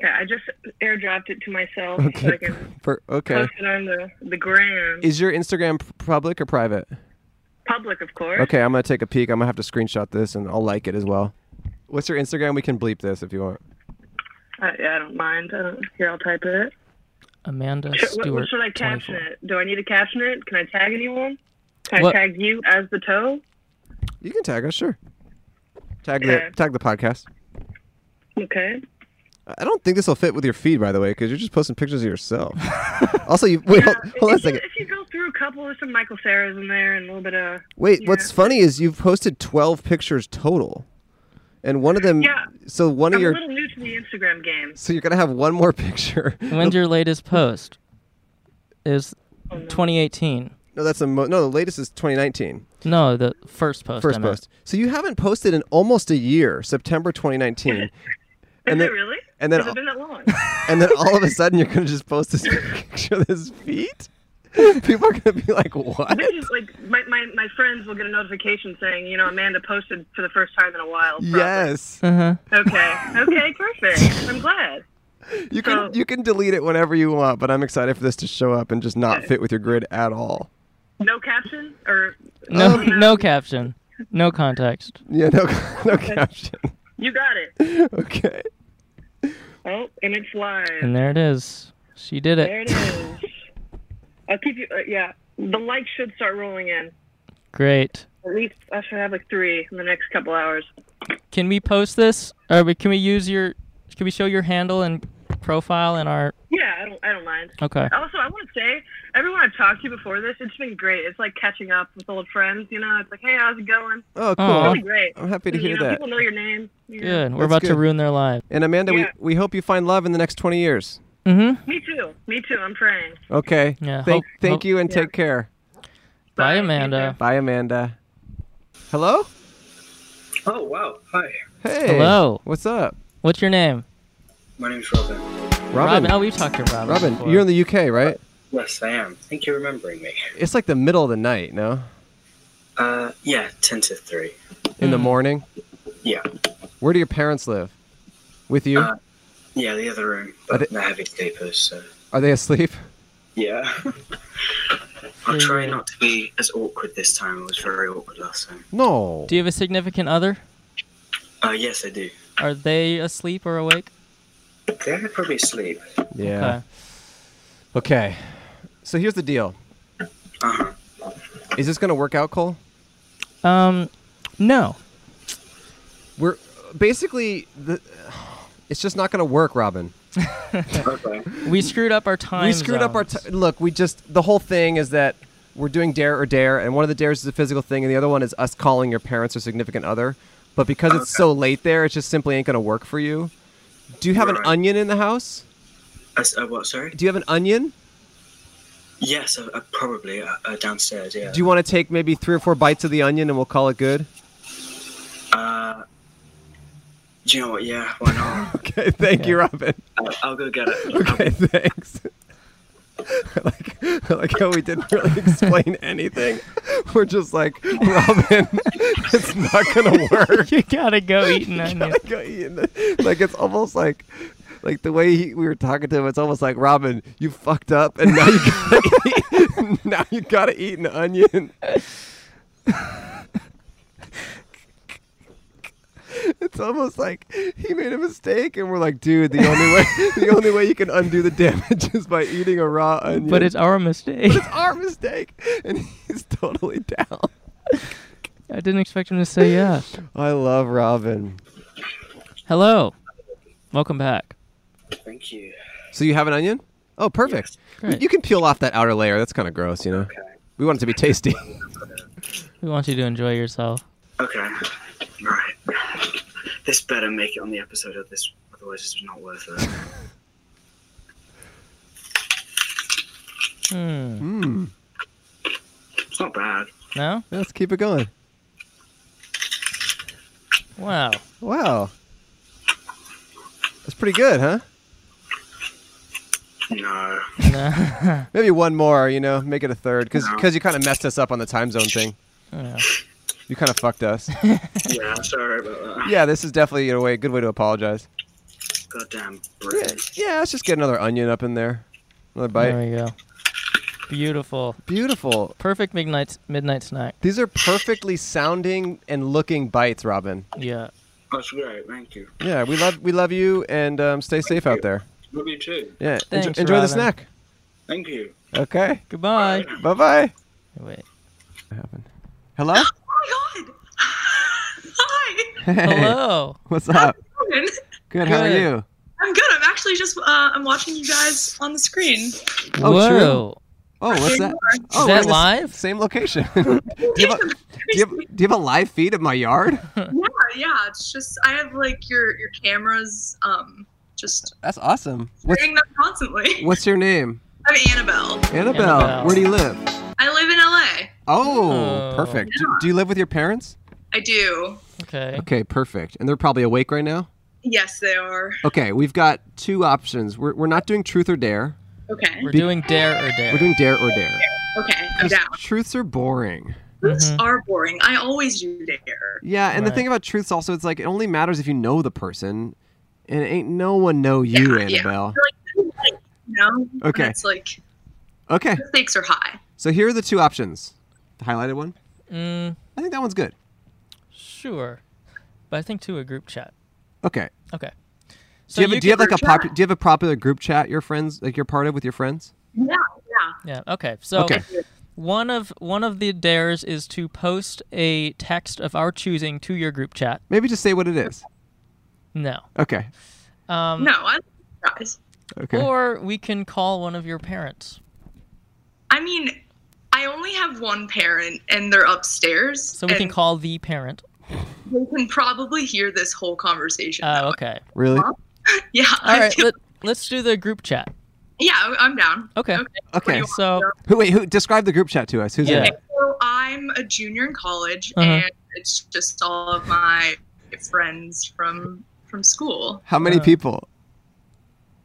S9: Yeah, I just airdropped it to myself so I can
S4: For, okay.
S9: post it on the the gram.
S4: Is your Instagram p- public or private?
S9: Public, of course.
S4: Okay, I'm gonna take a peek. I'm gonna have to screenshot this and I'll like it as well. What's your Instagram? We can bleep this if you want.
S9: I, yeah, I don't mind. I don't, here, I'll type it.
S2: Amanda
S9: Should- what,
S2: Stewart.
S9: what should I caption
S2: 24.
S9: it? Do I need to caption it? Can I tag anyone? Can
S2: What-
S9: I tag you as the toe?
S4: You can tag us, sure. Tag
S9: Okay.
S4: the tag the podcast.
S9: Okay.
S4: I don't think this will fit with your feed, by the way, because you're just posting pictures of
S9: <laughs>
S4: yourself. also, you wait. Hold, hold on a
S9: if, you, <laughs>
S4: second.
S9: if you go through a couple, there's some Michael Sarahs in there and a little bit of.
S4: Wait.
S9: yeah.
S4: What's funny is you've posted 12 pictures total, and one of them.
S9: Yeah.
S4: So one
S9: I'm
S4: of your.
S9: a little new to the Instagram game.
S4: So you're gonna have one more <laughs> picture.
S2: When's your latest post? Is
S9: Oh, no.
S2: 2018.
S4: No, that's a mo- no. The latest is 2019.
S2: No, the first post.
S4: First
S2: I meant.
S4: post. So you haven't posted in almost a year, September 2019,
S9: <laughs> Is
S4: and then
S9: it really?
S4: and then
S9: Has
S4: I'll-
S9: it been that long?
S4: <laughs> and then all of a sudden you're gonna just post this <laughs> picture of his feet. People are gonna be like, what?
S9: They're just like my, my, my friends will get a notification saying, you know, Amanda posted for the first time in a while. probably.
S4: Yes.
S9: Oh,
S2: Uh-huh.
S9: Okay. Okay. Perfect. I'm glad.
S4: You can
S9: So-
S4: you can delete it whenever you want, but I'm excited for this to show up and just not fit with your grid at all.
S9: No caption or
S2: No,
S9: Oh, no.
S2: no caption. No context.
S4: Yeah, no <laughs> no caption. <laughs>
S9: you got it.
S4: Okay.
S9: Oh, and it's live.
S2: And there it is. She did it.
S9: There it is. I'll keep you. Uh, yeah, the likes should start rolling in.
S2: Great.
S9: At least uh, I should have like three in the next couple hours.
S2: Can we post this? Or we, can we use your? Can we show your handle and profile in our?
S9: Yeah, I don't. I don't mind.
S2: Okay.
S9: Also, I want to say everyone I've talked to before this, it's been great. It's like catching up with old friends. You know, it's like, hey, how's it going?
S4: Oh, cool.
S2: Aw.
S9: Really great.
S4: I'm happy to
S9: You
S4: hear
S9: know,
S4: that.
S9: People know your name. you know.
S2: Good. We're
S4: That's
S2: about to
S4: good.
S2: ruin their lives.
S4: And Amanda,
S9: Yeah.
S4: we, we hope you find love in the next 20 years.
S2: Mm-hmm.
S9: Me too. Me too. I'm praying.
S4: Okay.
S2: Yeah,
S4: Thank,
S2: hope-
S4: thank
S2: hope-
S4: you and
S9: Yeah.
S4: take care.
S2: Bye,
S9: Bye.
S2: Amanda.
S4: Bye, Amanda. Hello?
S10: Oh wow! Hi,
S4: Hey.
S2: Hello.
S4: What's up?
S2: What's your name?
S10: my name is Robin.
S4: Robin.
S2: Oh, we've talked to Robin.
S4: Robin,
S2: before.
S4: you're in the UK, right?
S10: Yes, I am. Thank you for remembering me.
S4: It's like the middle of the night, no?
S10: Uh, yeah, ten to three.
S4: In the morning.
S10: Yeah,
S4: Where do your parents live? With you?
S10: Uh, yeah, the other room,
S4: Are
S10: but
S4: they-
S10: they're heavy sleepers, so
S4: Are they asleep?
S10: yeah. <laughs> I'll
S2: Yeah.
S10: try not to be as awkward this time. It was very awkward last time.
S4: <laughs> No.
S2: Do you have a significant other?
S10: Uh, yes, I do.
S2: Are they asleep or awake?
S10: They're probably asleep.
S4: yeah. Okay. So here's the deal.
S10: Uh huh.
S4: Is this going to work out, Cole?
S2: Okay. Um, no.
S4: We're basically the. <sighs> It's just not going to work, Robin.
S10: Okay.
S2: We screwed up our time.
S4: we screwed up our.
S2: zones. <laughs>
S4: T- look, we just the whole thing is that we're doing dare or dare, and one of the dares is a physical thing, and the other one is us calling your parents or significant other. But because it's so late there, it just simply ain't going to work for you. Do you have an
S10: Right.
S4: onion in the house?
S10: Uh, s- uh, what? Sorry.
S4: Do you have an onion?
S10: Yes, uh, uh, probably uh, uh, downstairs. Yeah.
S4: Do you want to take maybe three or four bites of the onion, and we'll call it good? <laughs>
S10: Uh, do you know what? Yeah,
S4: <laughs>
S10: why not?
S4: Okay, thank you, Robin.
S10: I'll, I'll go get it.
S4: Okay, thanks. <laughs> I like, I like how we didn't really explain anything. We're just like, Robin, <laughs> it's not gonna work.
S2: you gotta go eat an onion.
S4: <laughs>
S2: <laughs>
S4: Like, uh, you know, like, it's almost like, like the way he, we were talking to him. It's almost like Robin, you fucked up, and
S2: <laughs>
S4: now you gotta eat. <laughs> Now you gotta eat an onion. <laughs> It's almost like he made a mistake, and we're like, dude, the only way, <laughs> the only way you can undo the damage is by eating a raw onion.
S2: But it's our mistake.
S4: <laughs>
S2: <laughs>
S4: it's our mistake, and he's totally down.
S2: I didn't expect him to say yes.
S4: I love Robin.
S2: Hello. Welcome back.
S10: Thank you.
S4: So you have an onion? Oh, perfect.
S2: Great.
S4: You can peel off that outer layer. That's kind of gross, you know. We want it to be tasty.
S2: We want you to enjoy yourself.
S10: Okay. All right. This better make it on the episode of this, otherwise it's not worth it.
S2: Hmm.
S4: Hmm.
S10: It's not bad.
S2: No?
S4: Let's keep it going.
S2: Wow. <laughs>
S4: Wow. That's pretty good, huh?
S10: No.
S2: No.
S4: Maybe one more, you know, make it a third, because
S10: No.
S4: you kind of messed us up on the time zone thing.
S2: Oh, Yeah.
S4: You kind of fucked us. <laughs>
S10: Yeah, sorry about that.
S4: yeah, this is definitely a way, good way to apologize.
S10: Goddamn
S4: Yeah,
S10: British.
S4: yeah, let's just get another onion up in there. Another bite.
S2: There we go. Beautiful.
S4: Beautiful.
S2: Perfect midnight midnight snack.
S4: These are perfectly sounding and looking bites, Robin.
S2: Yeah.
S10: That's great. Thank you.
S4: Yeah, we love we love you, and um, stay safe out there.
S10: Love you too.
S4: Yeah, enjo-
S2: Thanks,
S4: enjoy the
S2: Robin.
S4: snack.
S10: Thank you.
S4: Okay,
S2: Goodbye.
S4: bye bye.
S2: Wait.
S4: Hello.
S7: Oh
S8: <laughs>
S7: my god! Hi.
S4: Hey,
S2: <laughs> Hello.
S4: What's up?
S7: Good.
S4: Good. How are
S2: Good.
S4: you?
S7: I'm good. I'm actually just uh, I'm watching you guys on the screen.
S4: <laughs> Oh,
S2: Whoa.
S4: true. Oh, what's that? Oh,
S2: Is
S4: we're in
S2: that
S4: the s-
S2: live?
S4: Same location. <laughs> do, you have a, do, you have, do you have a live feed of my yard?
S7: Yeah, Uh, yeah. It's just I have like your your cameras um just
S4: That's awesome. What's
S7: hearing them constantly. <laughs>
S4: What's your name?
S7: I'm Annabelle.
S4: Annabelle.
S2: Annabelle.
S4: Where do you live?
S7: I live in LA.
S4: Oh,
S2: Oh.
S4: perfect. Do, do you live with your parents?
S7: I do.
S2: Okay.
S4: Okay, perfect. And they're probably awake right now.
S7: Yes, they are.
S4: Okay, we've got two options. We're, we're not doing truth or dare.
S7: Okay.
S2: We're doing dare or dare.
S4: We're doing dare or dare.
S7: Okay. I'm
S4: Just
S7: down.
S4: Truths are boring.
S7: Truths
S4: Mm-hmm.
S2: Mhm.
S7: are boring. I always do dare.
S4: Yeah, and the
S2: Right.
S4: thing about truths also, it's like it only matters if you know the person, and ain't no one know you,
S7: Yeah, yeah.
S4: Annabelle.
S7: Like, you know?
S4: Okay.
S7: And It's like
S4: Okay,
S7: the stakes are high.
S4: so here are the two options. The highlighted one.
S2: Mm,
S4: I think that one's good.
S2: sure. But I think to a group chat.
S4: Okay.
S2: Okay.
S4: Do you have, a- do you have like a
S7: group chat.
S4: pop, do you have a popular group chat your friends like you're part of with your friends?
S7: Yeah.
S2: Yeah. Okay. So
S4: Okay.
S2: one of one of the dares is to post a text of our choosing to your group chat.
S4: Maybe just say what it is.
S2: No.
S4: Okay.
S2: Um,
S7: No, I love guys.
S4: Okay.
S2: Or we can call one of your parents.
S7: I mean, I only have one parent, and they're upstairs.
S2: So we can
S7: and
S2: call the parent.
S7: They can probably hear this whole conversation.
S2: Oh,
S7: though.
S2: okay.
S4: really?
S7: <laughs> Yeah.
S2: All
S7: Uh, I
S2: right.
S7: feel-
S2: Let, let's do the group chat.
S7: yeah, I- I'm down.
S2: Okay.
S7: Okay.
S4: Okay.
S7: What
S2: So
S4: Who wait, who describe the group chat to us? Who's in
S2: Yeah.
S4: it?
S7: So I'm a junior in college,
S2: Uh-huh.
S7: and it's just all of my friends from from school.
S4: How many
S2: Uh,
S4: people?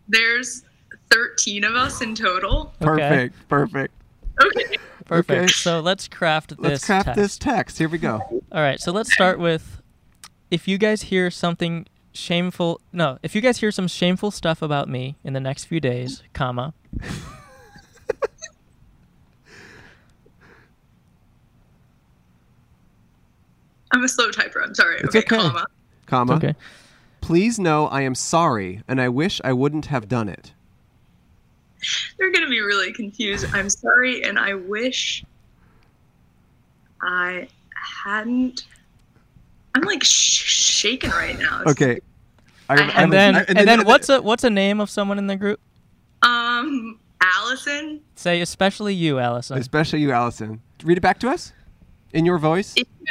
S7: There's 13 of us in total.
S2: okay.
S4: Perfect. Perfect.
S7: Okay.
S2: Perfect.
S4: Okay.
S2: So let's craft this.
S4: Let's craft
S2: text.
S4: this text. Here we go.
S2: All right, so let's start with if you guys hear something shameful, no, if you guys hear some shameful stuff about me in the next few days, comma.
S7: I'm a slow typer. I'm sorry.
S4: It's
S7: okay,
S4: okay.
S7: Comma.
S4: Comma.
S2: Okay.
S4: Please know I am sorry and I wish I wouldn't have done it.
S7: They're gonna be really confused. I'm sorry, and I wish I hadn't. I'm like sh- shaking right now. It's-
S4: Okay. I,
S7: And
S4: I'm-
S2: And then
S4: I-
S2: and then what's a what's a name of someone in the group?
S7: Um, Allison,
S2: Say especially you, Allison.
S4: especially you, Allison. Read it back to us in your voice.
S7: if you,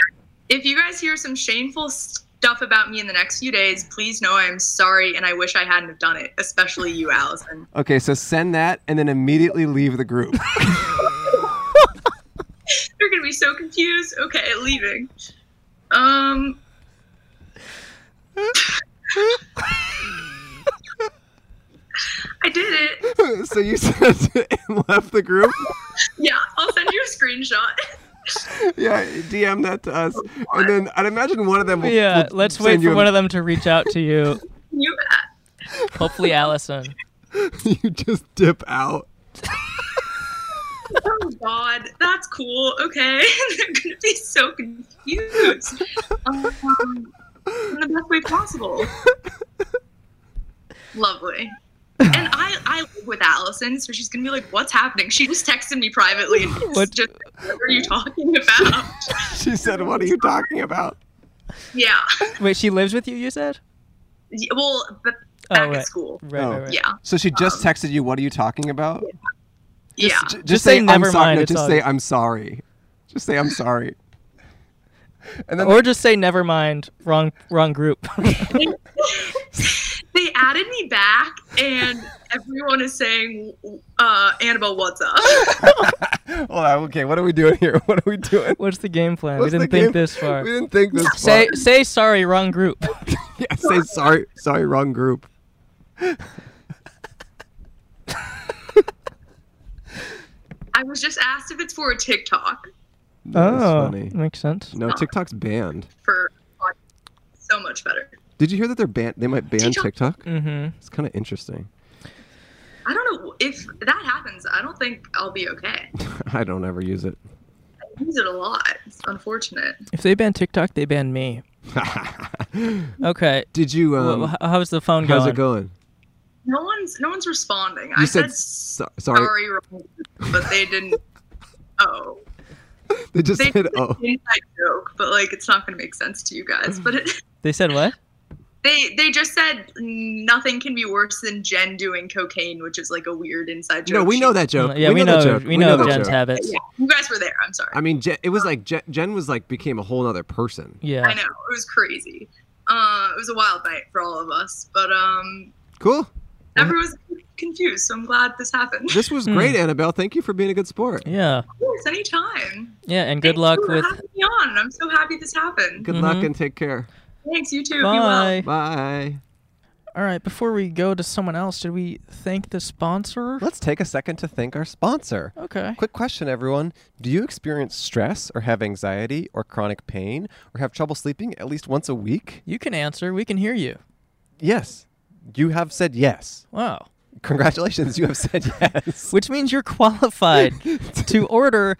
S7: if you guys hear some shameful stuff about me in the next few days, please know I'm sorry, and I wish I hadn't have done it. Especially you, Allison.
S4: Okay, so send that and then immediately leave the group. <laughs>
S7: They're gonna be so confused. Okay, leaving. Um. I did it.
S4: so you sent it and left the group. <laughs>
S7: Yeah, I'll send you a screenshot. <laughs>
S4: Yeah, DM that to us, and then I'd imagine one of them. Will,
S2: Yeah,
S4: will
S2: let's wait
S4: send
S2: for
S4: you
S2: one of them to reach out to
S11: <laughs>
S2: you.
S7: Can You,
S2: Hopefully Allison.
S4: them. <laughs> you just dip out. <laughs>
S7: oh God, that's cool. Okay, <laughs> they're gonna be so confused um, in the best way possible. Lovely. And I, I live with Allison, so she's gonna be like, "What's happening?" She just texted me
S2: <laughs>
S7: privately. And it's
S2: What-
S7: Just, what are you talking about?
S4: She said, "What are you talking about?"
S7: yeah.
S2: Wait, she lives with you, you said?
S7: Y- Well, but back
S2: right.
S7: at school.
S2: Right,
S11: Oh.
S2: right, right.
S7: Yeah. Um,
S11: So she just texted you. What are you talking about?
S7: Yeah.
S11: J- Just,
S2: Just
S11: say,
S2: say,
S11: I'm
S2: "Never
S11: sorry.
S2: mind,
S11: No,
S2: it's
S11: just
S2: all
S11: say
S2: good.
S11: I'm sorry. Just say I'm
S2: <laughs>
S11: sorry.
S4: And then
S2: or just say never mind. Wrong, wrong group. <laughs>
S7: They added me back, and everyone is saying, uh, "Annabelle, what's up?"
S11: Hold on. Okay. What are we doing
S4: <laughs>
S11: here? What are we doing?
S2: What's the game plan?
S11: What's
S2: we
S11: the
S2: didn't think
S11: game-
S2: this far.
S11: We didn't think this.
S2: Say,
S11: <laughs> far.
S2: say sorry. Wrong group.
S11: Yeah, <laughs> say sorry. Sorry. Wrong group.
S7: I was just asked if it's for a TikTok
S11: That's
S2: Oh.
S11: funny.
S2: makes sense.
S11: No, TikTok's banned.
S7: for so much better.
S11: Did you hear that they're ban? They might ban
S7: TikTok.
S11: TikTok.
S2: Mm-hmm.
S11: It's kind of interesting. <laughs>
S7: I don't know if that happens. I don't think I'll be okay.
S11: I don't ever use it. <laughs>
S7: I use it a lot. It's unfortunate.
S2: If they ban TikTok, they ban me. Okay.
S11: Did you? Um,
S2: Well, h- how's the phone
S11: how's
S2: going?
S11: it going?
S7: No one's no one's responding.
S11: You
S7: I
S11: said
S7: said,
S11: so- sorry.
S7: sorry, wrong, but
S11: <laughs>
S7: they didn't. oh,
S11: They just
S7: they
S11: said
S7: did
S11: oh.
S7: an inside joke, but like it's not gonna make sense to you guys. But it, <laughs>
S2: They said what?
S7: they they just said nothing can be worse than Jen doing cocaine, which is like a weird inside joke.
S11: No, we
S7: She-
S11: know that joke.
S2: Mm, Yeah, we,
S11: know,
S2: know.
S11: that joke.
S2: We know,
S11: that
S2: Jen's
S11: joke.
S2: habits.
S7: Yeah, you guys were there. I'm sorry.
S11: I mean, Jen, it was like Jen, Jen was like became a whole other person.
S2: Yeah.
S7: I know it was crazy. Uh, it was a wild night for all of us, but um,
S11: Cool.
S7: everyone's confused. So I'm glad this happened.
S11: This was great,
S2: Hmm.
S11: Annabelle. Thank you for being a good sport.
S2: Yeah.
S7: Of course, anytime.
S2: Yeah. And good
S7: Thanks
S2: luck
S7: for
S2: with.
S7: having me on. I'm so happy this happened.
S11: Good luck
S2: Mhm.
S11: and take care.
S7: Thanks, you too. Be well.
S2: Bye.
S11: Bye.
S2: All right. Before we go to someone else, should we thank the sponsor?
S4: Let's take a second to thank our sponsor.
S2: Okay.
S4: Quick question, everyone. Do you experience stress or have anxiety or chronic pain or have trouble sleeping at least once a week?
S2: You can answer. We can hear you.
S4: Yes. You have said yes.
S2: Wow.
S4: Congratulations, you have said <laughs> yes.
S2: Which means you're qualified
S11: <laughs>
S2: to order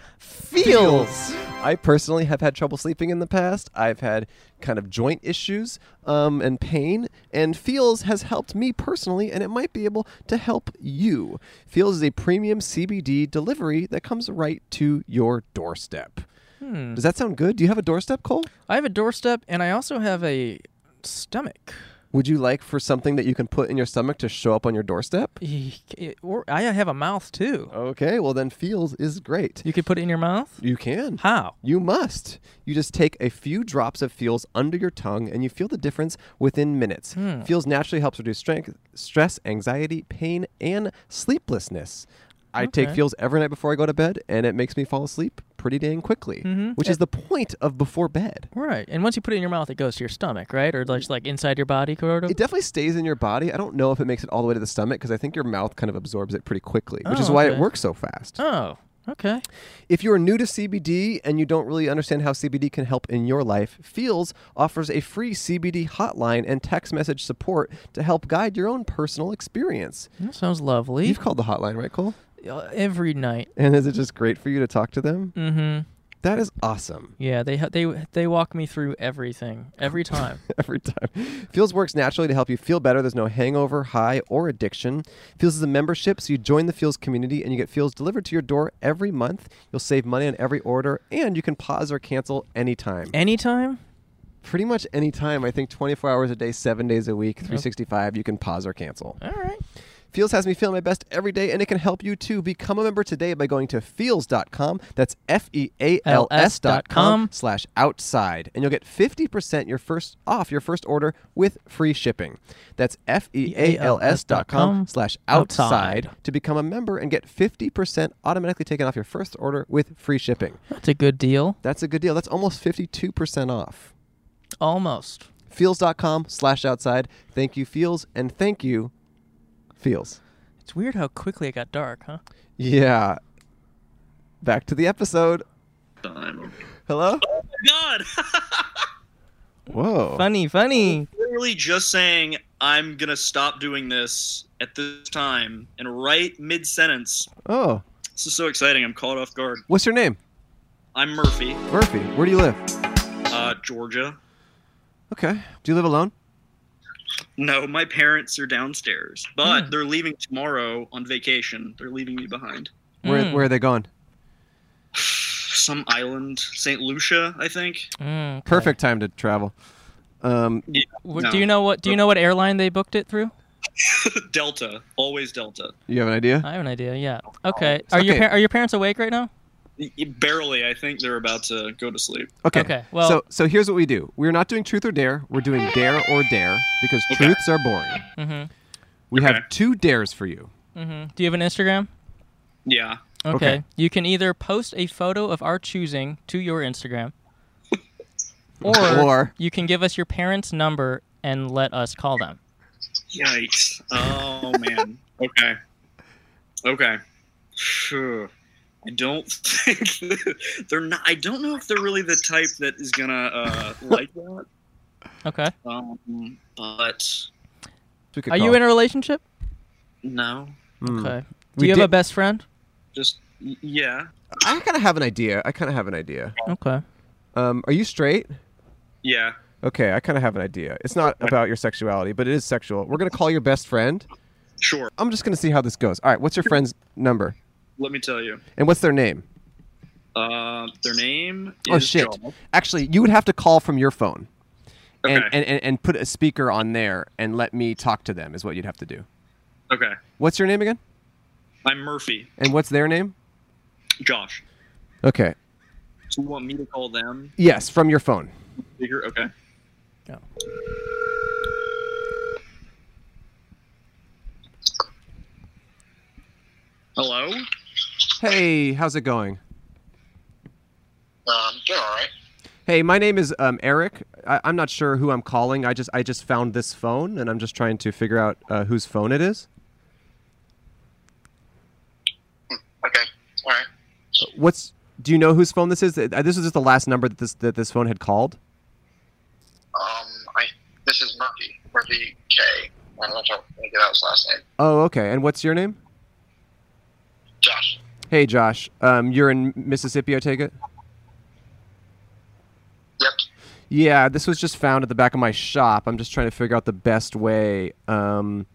S2: feels.
S4: I personally have had trouble sleeping in the past. I've had kind of joint issues um, and pain, and Feels has helped me personally, and it might be able to help you. Feels is a premium CBD delivery that comes right to your doorstep. Does that sound good? Do you have a doorstep, Cole?
S2: I have a doorstep, and I also have a stomach.
S4: Would you like for something that you can put in your stomach to show up on your doorstep?
S2: Eek, Or I have a mouth too.
S11: Oh.
S4: Okay, well, then Feels is great.
S2: You could put it in your mouth.
S4: You can.
S2: How?
S4: You must. You just take a few drops of Feels under your tongue and you feel the difference within minutes.
S2: Hmm.
S4: Feels naturally helps reduce strength, stress, anxiety, pain, and sleeplessness. I take
S2: Okay.
S4: Feels every night before I go to bed and it makes me fall asleep pretty dang quickly,
S2: Mm-hmm.
S4: which is the point of before bed.
S2: Right. And once you put it in your mouth, it goes to your stomach, right? Or just like inside your body, sort of?
S4: It definitely stays in your body. I don't know if it makes it all the way to the stomach because I think your mouth kind of absorbs it pretty quickly, which is
S2: Oh,
S4: why it
S2: okay.
S4: works so fast.
S2: Oh, okay.
S4: If you are new to CBD and you don't really understand how CBD can help in your life, Feels offers a free CBD hotline and text message support to help guide your own personal experience.
S2: That sounds lovely.
S4: You've called the hotline, right, Cole?
S2: Uh, Every night.
S4: And is it just great for you to talk to them?
S2: Mm-hmm.
S4: That is awesome. <laughs>
S2: Yeah, they ha- they they walk me through everything every time.
S4: every time. Feels works naturally to help you feel better. There's no hangover, high, or addiction. Feels is a membership, so you join the Feels community and you get Feels delivered to your door every month. You'll save money on every order and you can pause or cancel <laughs> anytime.
S2: Anytime?
S4: Pretty much any time, I think 24 hours a day, 7 days a week, 365, you can pause or cancel.
S2: All right.
S4: Feels has me feeling my best every day and it can help you too. Become a member today by going to feels.com. That's F E A E L S dot com
S2: com.
S4: slash outside. And you'll get 50% your first off your first order with free shipping. That's F E A L S dot com slash outside
S2: Outside.
S4: to become a member and get 50% automatically taken off your first order with free shipping.
S2: That's a good deal.
S4: That's a good deal. That's almost 52% off.
S2: Almost.
S4: Feels.com slash outside. Thank you, Feels, and thank you, Feels.
S2: It's weird how quickly it got dark, huh?
S4: Yeah. Back to the episode.
S12: time.
S4: Hello?
S12: God,
S4: Whoa.
S2: Funny, funny.
S12: literally just saying I'm gonna stop doing this at this time and right mid sentence.
S4: Oh.
S12: This is so exciting. I'm caught off guard.
S4: What's your name?
S12: I'm Murphy,
S4: Murphy. Where do you live?
S12: uh, Georgia.
S4: Okay. Do you live alone?
S12: No, my parents are downstairs, but they're leaving tomorrow on vacation. They're leaving me behind.
S4: Where
S2: Mm.
S4: where are they going?
S12: Some island, St. Lucia, I think.
S2: Mm, okay.
S4: Perfect time to travel. Um
S12: Yeah,
S2: Wh-
S12: no.
S2: Do you know what? Do you know what airline they booked it through?
S12: Delta, always Delta.
S4: You have an idea?
S2: I have an idea. Yeah. Okay. Are your
S4: okay.
S2: par- are your parents awake right now?
S12: Barely, I think they're about to go to sleep.
S4: Okay.
S2: well-
S4: so so here's what we do. We're not doing truth or dare. We're doing dare or dare because truths are boring.
S2: Mm-hmm.
S4: We have two dares for you.
S2: Mm-hmm. Do you have an Instagram?
S12: Yeah.
S2: Okay. You can either post a photo of our choosing to your Instagram, or,
S4: Or-
S2: you can give us your parents' number and let us call them.
S12: Yikes. Oh man. Okay. Okay. Phew. I don't <laughs> think they're not. I don't know if they're really the type that is
S4: <laughs>
S12: gonna uh, like that.
S2: Okay.
S12: Um, but
S2: Are you in a relationship?
S12: no,
S2: Okay. Do
S4: Hmm. We
S2: you have
S4: did-
S2: a best friend?
S12: just y- yeah,
S4: I kind of have an idea. I kind of have an idea.
S2: Okay.
S4: Um, are you straight?
S12: yeah.
S4: Okay, I kind of have an idea. It's not about your sexuality, but it is sexual. We're gonna call your best friend.
S12: Sure.
S4: I'm just gonna see how this goes. All right, what's your friend's number
S12: Let me tell you.
S4: and what's their name?
S12: Uh, their name.
S4: oh
S12: is
S4: shit!
S12: Joel.
S4: Actually, you would have to call from your phone, and,
S12: Okay.
S4: and, and and put a speaker on there and let me talk to them is what you'd have to do.
S12: Okay.
S4: What's your name again?
S12: I'm Murphy.
S4: And what's their name?
S12: Josh.
S4: Okay.
S12: Do you want me to call them?
S4: Yes, from your phone.
S12: Bigger? Okay.
S2: Yeah.
S12: Hello.
S4: Hey, how's it going?
S11: Um, doing all right.
S4: Hey, my name is um, Eric. I, I'm not sure who I'm calling. I just I just found this phone, and I'm just trying to figure out uh, whose phone it is.
S11: Okay. All right.
S4: What's do you know whose phone this is? Uh, This is just the last number that this that this phone had called.
S11: Um, I, this is Murphy. Murphy K. I don't know if I can get out his last name.
S4: Oh, okay. And what's your name?
S11: Josh.
S4: Hey, Josh. Um, you're in Mississippi, I take it.
S11: Yep.
S4: Yeah, this was just found at the back of my shop. I'm just trying to figure out the best way. Um,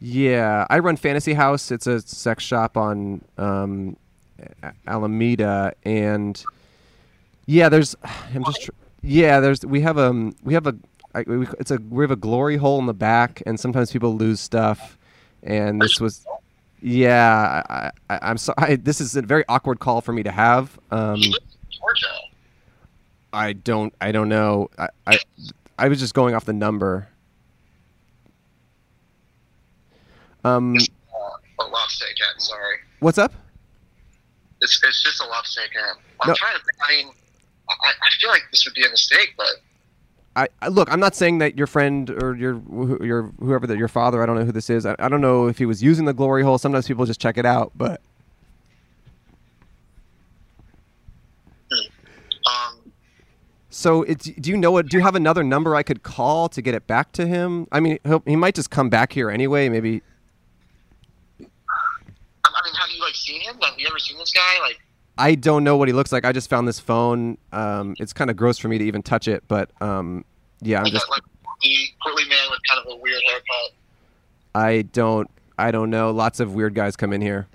S4: yeah, I run Fantasy House. It's a sex shop on um, A- Alameda, and yeah, there's. I'm just. Tr- yeah, there's. We have um. We have a. I, we, it's a. We have a glory hole in the back, and sometimes people lose stuff, and this was. Yeah, I, I, I'm sorry. This is a very awkward call for me to have. Um, I don't. I don't know. I, I I was just going off the number. Um,
S11: Uh, a lobster cat. Sorry.
S4: what's up?
S11: It's it's just a lobster cat. I'm
S4: No.
S11: trying to. I mean, I, I feel like this would be a mistake, but
S4: I, I look. I'm not saying that your friend or your wh- your whoever that your father. I don't know who this is. I, I don't know if he was using the glory hole. Sometimes people just check it out, but
S11: um,
S4: so it's. Do you know what? Do you have another number I could call to get it back to him? I mean, he'll, he might just come back here anyway. Maybe.
S11: I, I mean, have you like seen him? Like, have you ever seen this guy? Like,
S4: I don't know what he looks like. I just found this phone. Um, it's kind of gross for me to even touch it, but um, yeah, I'm
S11: like,
S4: just.
S11: that, like the portly man with kind of a weird haircut.
S4: I don't I don't know. Lots of weird guys come in here.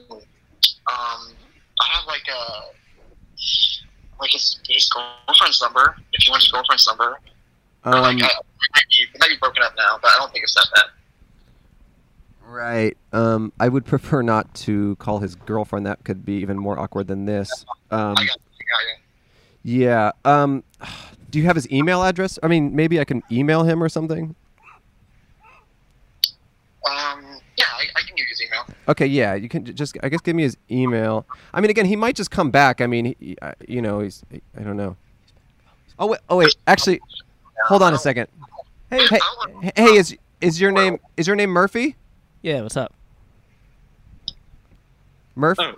S11: Um, I have like a like his, his girlfriend's number. If you want his girlfriend's number,
S4: Um,
S11: I, it, might be, it might be broken up now, but I don't think it's that bad.
S4: right. Um, I would prefer not to call his girlfriend. That could be even more awkward than this. Um, yeah. Um, do you have his email address? I mean, maybe I can email him or something.
S11: Um, yeah, I, I can give you his email.
S4: Okay, yeah, you can j- just I guess give me his email. I mean, again, he might just come back. I mean, he, I- you know, he's I don't know. Oh wait, oh wait, actually, hold
S11: Um,
S4: on a second. Hey, hey, hey, is is your name is your name Murphy?
S2: Yeah. What's up?
S4: Murph?
S12: Oh,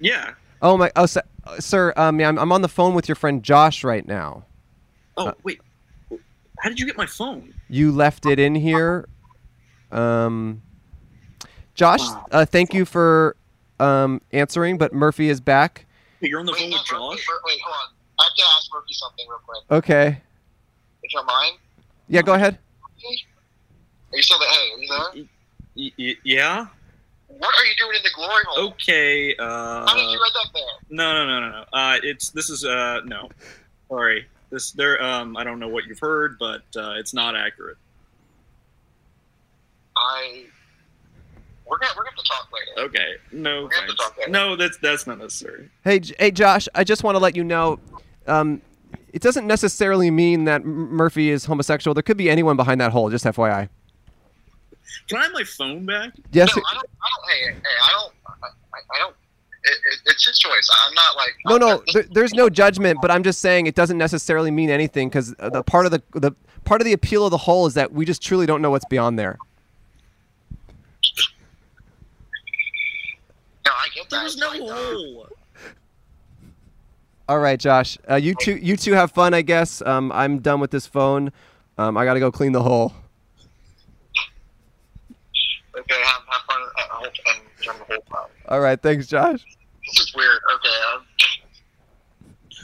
S12: yeah.
S4: Oh my, oh sir, sir um, yeah, I'm I'm on the phone with your friend Josh right now.
S12: Oh wait, how did you get my phone?
S4: You left it in here. Um, Josh, uh, thank you for um answering, but Murphy is back.
S12: Hey, You're on the phone with Josh.
S11: Wait, hold on. I have to ask Murphy something real quick.
S4: Okay,
S11: If you're mine,
S4: yeah, go ahead.
S11: are you still there? Hey, are you there?
S12: Y- y- yeah.
S11: What are you doing in the glory hole?
S12: Okay. Uh,
S11: How did you end up there?
S12: no, no, no, no, no. Uh, it's this is uh no. Sorry. This there. Um, I don't know what you've heard, but uh, it's not accurate.
S11: I we're gonna we're gonna have to talk later.
S12: Okay. No.
S11: We're gonna have to
S12: thanks.
S11: talk later.
S12: No, that's that's not necessary.
S4: Hey, J- hey, Josh. I just want to let you know, um, it doesn't necessarily mean that M- Murphy is homosexual. There could be anyone behind that hole. Just FYI.
S12: Can I have my phone back?
S4: Yes.
S11: I don't. I don't. Hey, hey, I don't. I, I- I don't. It, it, it's his choice. I'm not like.
S4: No, no. There, there's
S11: <laughs>
S4: no judgment, but I'm just saying it doesn't necessarily mean anything because the part of the the part of the appeal of the hole is that we just truly don't know what's beyond there.
S11: No, I get that.
S12: There's no hole.
S4: All right, Josh. Uh, you two, you two have fun, I guess. Um, I'm done with this phone. Um, I gotta go clean the hole.
S11: uh, Okay, have, have fun at home and during the whole time.
S4: All right, thanks, Josh. <laughs>
S11: This is weird. Okay.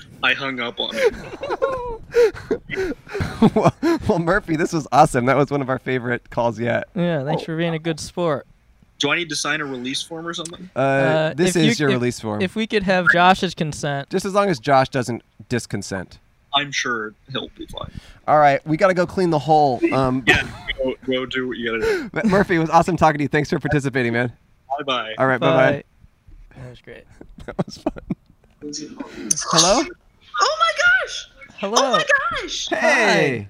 S11: Um,
S12: I hung up on it.
S4: well, well, Murphy, this was awesome. That was one of our favorite calls yet.
S2: Yeah, thanks for being a good sport.
S12: Do I need to sign a release form or something?
S4: Uh, this
S2: if you-
S4: is your
S2: if-
S4: release form.
S2: If we could have Josh's consent.
S4: Just as long as Josh doesn't disconsent.
S12: I'm sure he'll be fine.
S4: All right, we gotta go clean the hole. Um,
S12: Go, go do what you gotta do.
S4: but Murphy, it was awesome talking to you. Thanks for participating, man.
S12: Bye bye.
S4: All right, bye
S2: That was great.
S4: bye. <laughs> That was fun.
S2: Hello?
S13: Oh my gosh!
S2: Hello.
S13: Oh my gosh!
S4: Hey,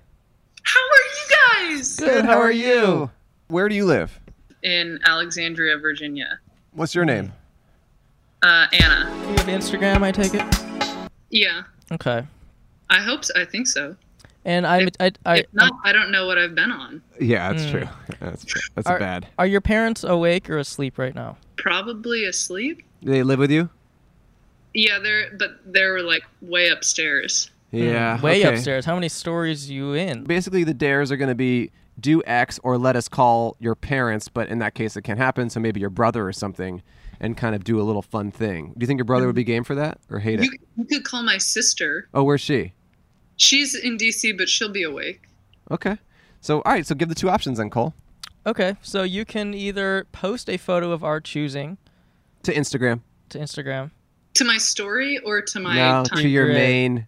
S14: How are you guys?
S4: Where do you live?
S14: In Alexandria, Virginia.
S4: What's your name?
S14: Uh, Anna.
S2: You have Instagram, I take it?
S14: Yeah,
S2: Okay.
S14: I hope so. I think so.
S2: And I'm, I, I,
S14: If not, I don't know what I've been on.
S4: Yeah, that's
S2: Mm.
S4: true. That's that's
S2: are,
S4: bad.
S2: Are your parents awake or asleep right now?
S14: Probably asleep.
S4: Do they live with you?
S14: Yeah, they're but they were like way upstairs.
S4: Yeah.
S2: Way
S4: okay.
S2: upstairs. How many stories you in?
S4: Basically, the dares are going to be do X or let us call your parents, but in that case, it can't happen. So maybe your brother or something, and kind of do a little fun thing. Do you think your brother would be game for that or hate it?
S14: You, you could call my sister.
S4: Oh, where's she?
S14: She's in DC, but she'll be awake.
S4: Okay. So all right. So give the two options then, Cole,
S2: Okay, so you can either post a photo of our choosing
S4: to Instagram. <laughs>
S2: to Instagram.
S14: To my story or to my
S4: no,
S14: time?
S4: to your
S14: <laughs>
S4: main.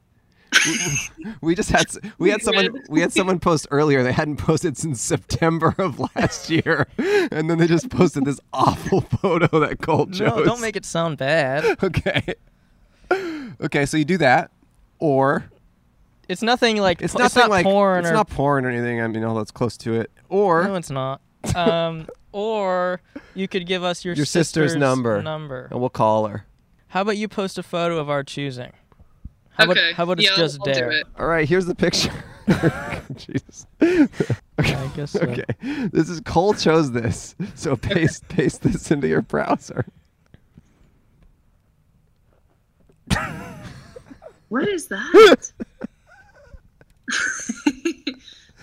S4: we just had s- we had someone we had someone post earlier. They hadn't posted since September of last year, and then they just posted this awful photo that Cole chose.
S2: No, don't make it sound bad.
S4: okay. Okay, so you do that, or
S2: It's nothing like
S4: it's
S2: po-
S4: nothing
S2: not
S4: like
S2: porn
S4: it's
S2: or
S4: not porn or anything. I mean, although it's close to it. Or
S2: no, it's not.
S4: <laughs>
S2: Um, or you could give us your,
S4: your sister's, number, Oh.
S2: Number.
S4: and we'll call her.
S2: How about you post a photo of our choosing? How
S14: Okay.
S2: about how about it's
S14: Yeah,
S2: just
S14: I'll do
S2: dare?
S14: it.
S4: All right, here's the picture. <laughs>
S2: <laughs>
S4: Jesus. Okay.
S2: I
S4: <laughs>
S2: guess so.
S4: Okay. This is Cole chose
S2: <laughs>
S4: this, so paste paste this into your browser.
S14: What is that?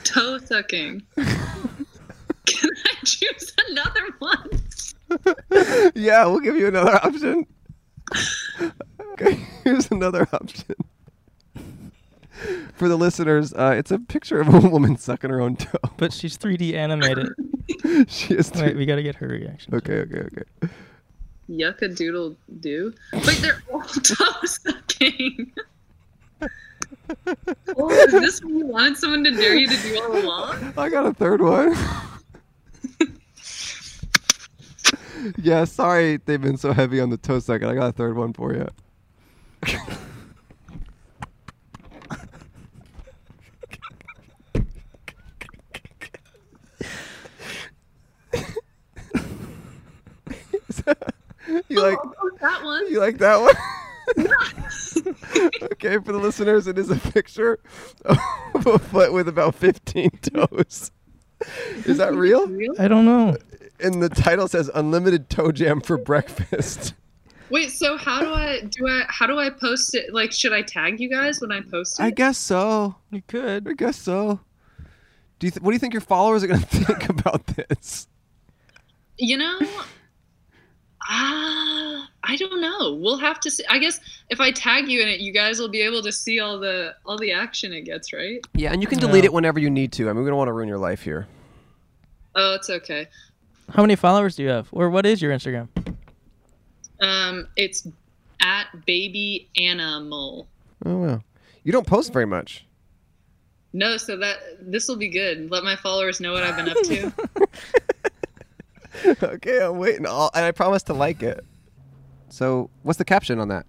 S14: Toe
S4: <laughs>
S14: sucking. Can I choose another one?
S4: yeah, we'll give you another option. Okay, <laughs> here's another option. For the listeners, uh, it's a picture of a <laughs> woman sucking her own toe. <laughs>
S2: But she's 3D animated.
S4: she is.
S2: Wait, we gotta get her reaction.
S4: Okay, okay, okay.
S14: Yucca doodle do. Wait, they're all <laughs> toe sucking. oh, is this what you wanted someone to dare you to do all along?
S4: I got a third one. yeah, sorry they've been so heavy on the toe sucking. I got a third one for <laughs> you. you like
S14: that one?
S4: You like that one? <laughs> okay, for the listeners, it is a picture of a foot with about 15 toes. Is that real?
S2: I don't know.
S4: And the title says "Unlimited Toe Jam for Breakfast."
S14: Wait, so how do I do I how do I post it? Like should I tag you guys when I post it?
S4: I guess so.
S2: You could.
S4: I guess so. Do you th- what do you think your followers are going to <laughs> think about this?
S14: You know, ah, I don't know. We'll have to see. I guess if I tag you in it, you guys will be able to see all the all the action it gets, right?
S4: Yeah, and you can
S2: No.
S4: delete it whenever you need to. I mean, we don't want to ruin your life here.
S14: Oh, it's okay.
S2: How many followers do you have, or what is your Instagram?
S14: Um, it's at baby animal.
S4: Oh wow. You don't post very much.
S14: No, so that this will be good. Let my followers know what I've been up
S4: <laughs>
S14: to.
S4: okay, I'm waiting. I'll, and I promise to like it. So, what's the caption on that?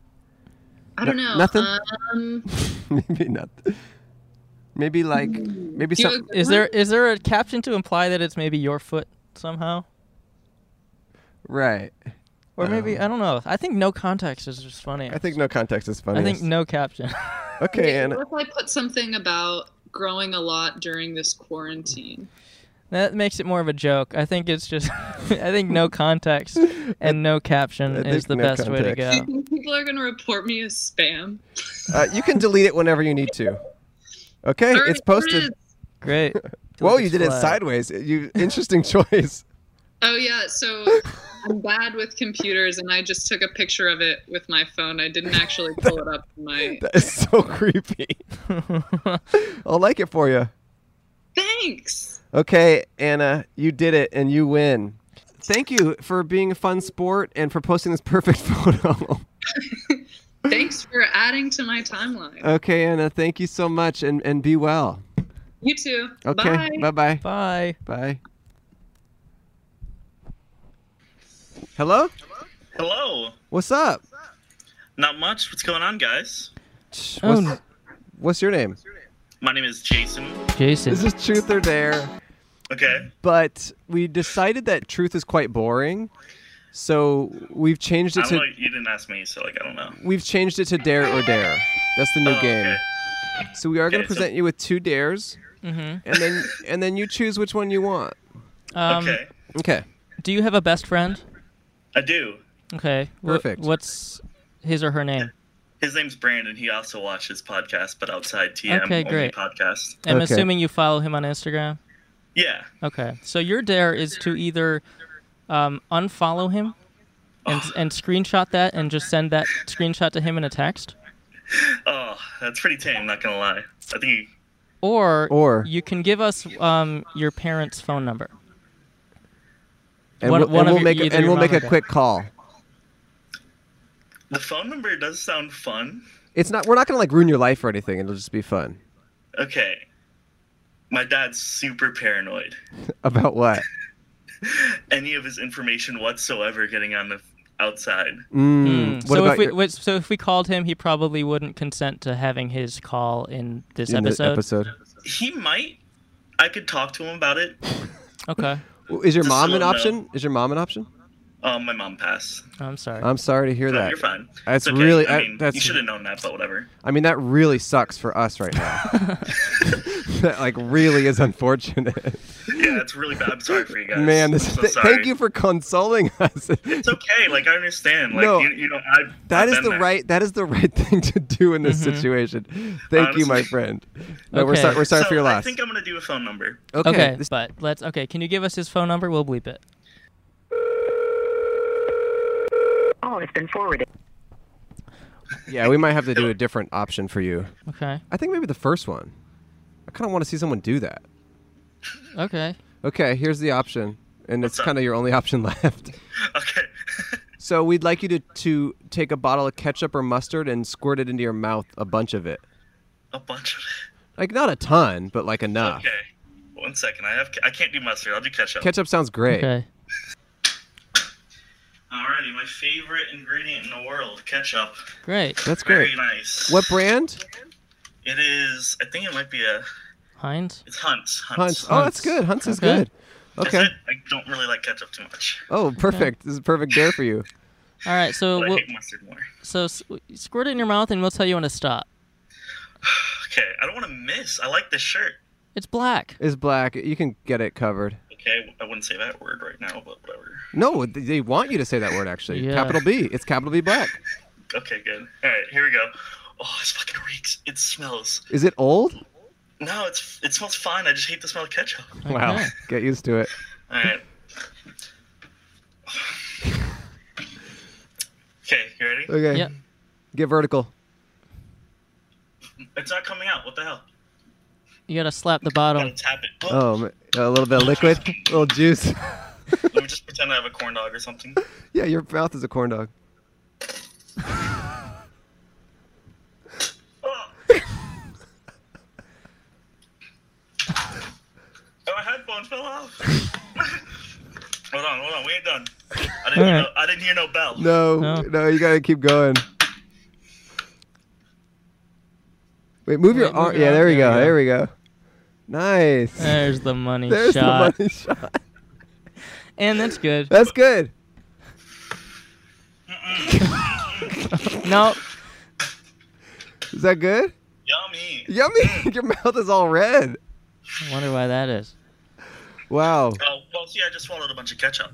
S14: I don't know.
S4: Nothing.
S14: Um,
S4: <laughs> maybe not. Maybe like maybe
S14: Do you
S4: some.
S2: Is there is there a caption to imply that it's maybe your foot somehow,
S4: right?
S2: or maybe I don't know. I think no context is just funny.
S4: I think no context is funny.
S2: I think no caption. <laughs>
S4: Okay, and
S14: what if I put something about growing a lot during this quarantine?
S2: That makes it more of a joke. I think it's just, <laughs> I think
S4: <laughs>
S2: no context and no caption
S4: think
S2: is the
S4: no
S2: best way to
S4: context. <laughs>
S2: go.
S14: People are gonna report me as spam.
S4: uh, you can delete it whenever you need to. Okay,
S14: Alright,
S4: it's posted.
S14: it
S2: Great.
S4: Whoa,
S2: Delete
S4: you did it
S2: flag.
S4: sideways. You interesting <laughs> choice.
S14: Oh yeah, so I'm bad with computers, and I just took a picture of it with my phone. I didn't actually pull it up.
S4: <laughs>
S14: on My
S4: That is so creepy. I'll like it for you.
S14: thanks.
S4: Okay, Anna, you did it and you win. Thank you for being a fun sport and for posting this perfect <laughs> photo.
S14: Thanks for adding to my timeline.
S4: okay, Anna, thank you so much and, and be well.
S14: You too.
S4: Okay,
S14: Bye.
S4: bye bye.
S2: <laughs> Bye.
S4: Bye. Hello?
S15: Hello.
S4: What's up?
S15: Not much. What's going on, guys?
S4: What's,
S15: Oh, no.
S4: what's your name?
S15: My name is Jason.
S2: Jason.
S4: This is Truth or Dare.
S15: Okay.
S4: But we decided that truth is quite boring. So we've changed
S15: I
S4: it
S15: don't
S4: to
S15: know. You didn't ask me, so like I don't know.
S4: we've changed it to dare or dare. That's the new game. So we are going to
S15: Oh, Okay, so-
S4: present you with two dares,
S2: Mhm.
S4: and then and then you choose which one you want.
S2: Um,
S15: Okay.
S4: Okay.
S2: Do you have a best friend?
S15: I do.
S2: Okay. wh-
S15: Perfect.
S2: what's his or her name?
S15: His name's Brandon. He also watches podcasts, but outside TM
S2: okay,
S15: only
S2: great.
S15: podcast.
S2: I'm assuming you follow him on Instagram.
S15: Yeah.
S2: Okay. So your dare is to either um, unfollow him
S4: <sighs>
S2: and, and screenshot that and just send that screenshot to him in a text,
S15: Oh, that's pretty tame. Not gonna lie. I think. He,
S2: or
S4: Or-
S2: you can give us um, your parents' phone number.
S4: And
S2: One-
S4: we'll,
S2: one
S4: and
S2: of
S4: we'll
S2: your-
S4: make
S2: either
S4: and
S2: your
S4: we'll
S2: mom
S4: make
S2: or
S4: a
S2: dad.
S4: quick call.
S15: the phone number does sound fun.
S4: It's not. We're not going to like ruin your life or anything. It'll just be fun.
S15: Okay. My dad's super paranoid.
S4: About what?
S15: Any of his information whatsoever getting on the outside.
S4: Mm, what
S2: Hmm. so
S4: about
S2: if we
S4: your-
S2: wait, so if we called him, he probably wouldn't consent to having his call in this
S4: in the
S2: episode.
S4: episode.
S15: He might. I could talk to him about it.
S2: Okay.
S4: Well, Is your
S15: Just
S4: mom
S15: so
S4: an
S15: no.
S4: option? Is your mom an option?
S15: Um, my mom passed.
S2: Oh, I'm sorry.
S4: I'm sorry to hear
S15: No,
S4: that.
S15: You're fine.
S4: That's
S15: It's okay.
S4: really.
S15: I
S4: I-
S15: mean, you
S4: that's.
S15: should have known that, but whatever.
S4: I mean, that really sucks for us right
S2: <laughs>
S4: now. <laughs> that like really is unfortunate.
S15: Yeah, it's really bad. I'm sorry for you guys.
S4: Man, this,
S15: I'm so
S4: th-
S15: sorry.
S4: thank you for consoling <laughs> us.
S15: It's okay. Like I understand. Like
S4: No,
S15: you, you know, I've,
S4: That
S15: I've
S4: is
S15: been
S4: the
S15: there.
S4: right. That is the right <laughs> thing to do in this
S2: Mm-hmm.
S15: Mhm.
S4: situation. Thank you, my
S15: Honestly.
S4: friend. No, we're sorry. We're sorry
S15: So
S4: for your
S15: I
S4: loss.
S15: think I'm gonna do a phone number. <laughs>
S4: Okay, this-
S2: but let's. Okay, can you give us his phone number? We'll bleep it.
S6: Oh, it's been forwarded.
S4: yeah, we might have to do a different option for you.
S2: Okay.
S4: I think maybe the first one. I kind of want to see someone do that.
S2: Okay.
S4: Okay, here's the option, and it's kind of your only <laughs> option left.
S15: Okay.
S4: so we'd like you to to take a bottle of ketchup or mustard and squirt it into your mouth, a bunch of it.
S15: A bunch of.
S4: Like not a ton, but like enough.
S15: Okay. One second. I have. I can't do mustard. I'll do ketchup.
S4: Ah. Ketchup sounds great.
S2: Okay.
S15: Alrighty, my favorite ingredient in the world, ketchup.
S2: Great.
S4: That's
S15: Very
S4: great.
S15: nice.
S4: What brand?
S15: It is. I think it might be a.
S2: Heinz.
S15: It's Hunt's.
S4: Hunts.
S15: Hunt's.
S4: Oh, that's good. Hunts is
S2: Okay.
S4: good. Okay.
S15: I don't really like ketchup too much.
S4: Oh, perfect. This is a perfect dare for you.
S2: All right. So
S15: But I
S2: Uh, we'll,
S15: hate mustard more.
S2: so s- squirt it in your mouth, and we'll tell you when to stop.
S15: Okay. I don't want to miss. I like this shirt.
S2: It's black.
S4: It's black. You can get it covered.
S15: Okay. I wouldn't say that word right now, but whatever.
S4: No, th- they want you to say that word actually.
S2: Yeah.
S4: Capital B. It's capital B black.
S15: Okay. Good. All right. Here we go. Oh, this fucking reeks. It smells.
S4: Is it old?
S15: No, it's it smells fine. I just hate the smell of ketchup.
S4: Wow. Get used to it.
S15: All right. <sighs> Okay, you ready?
S4: Okay. Get vertical.
S15: It's not coming out. What the hell?
S2: You gotta slap the bottom.
S15: Tap it. Oh,
S4: Oh, ma- a little bit of <laughs> liquid, a little juice.
S15: Let me just pretend I have a corn dog or something.
S4: yeah, your mouth is a corn dog.
S15: fell off. <laughs> hold on, hold on. We ain't done. I
S4: All
S15: didn't, hear,
S4: right.
S15: no, I didn't hear no bell.
S4: No, no, you gotta keep going. Wait, move your
S2: Wait, move
S4: arm.
S2: your
S4: Yeah,
S2: arm.
S4: there we
S2: There
S4: go.
S2: we
S4: There we go. Nice.
S2: There's the money
S4: <laughs> There's the
S2: shot.
S4: money <laughs> shot.
S2: And that's good.
S4: That's good.
S2: no.
S4: Is that good?
S15: Yummy.
S4: Yummy. <laughs> your mouth is all red.
S2: I wonder why that is.
S4: Wow.
S15: Oh, well, see, I just swallowed a bunch of ketchup.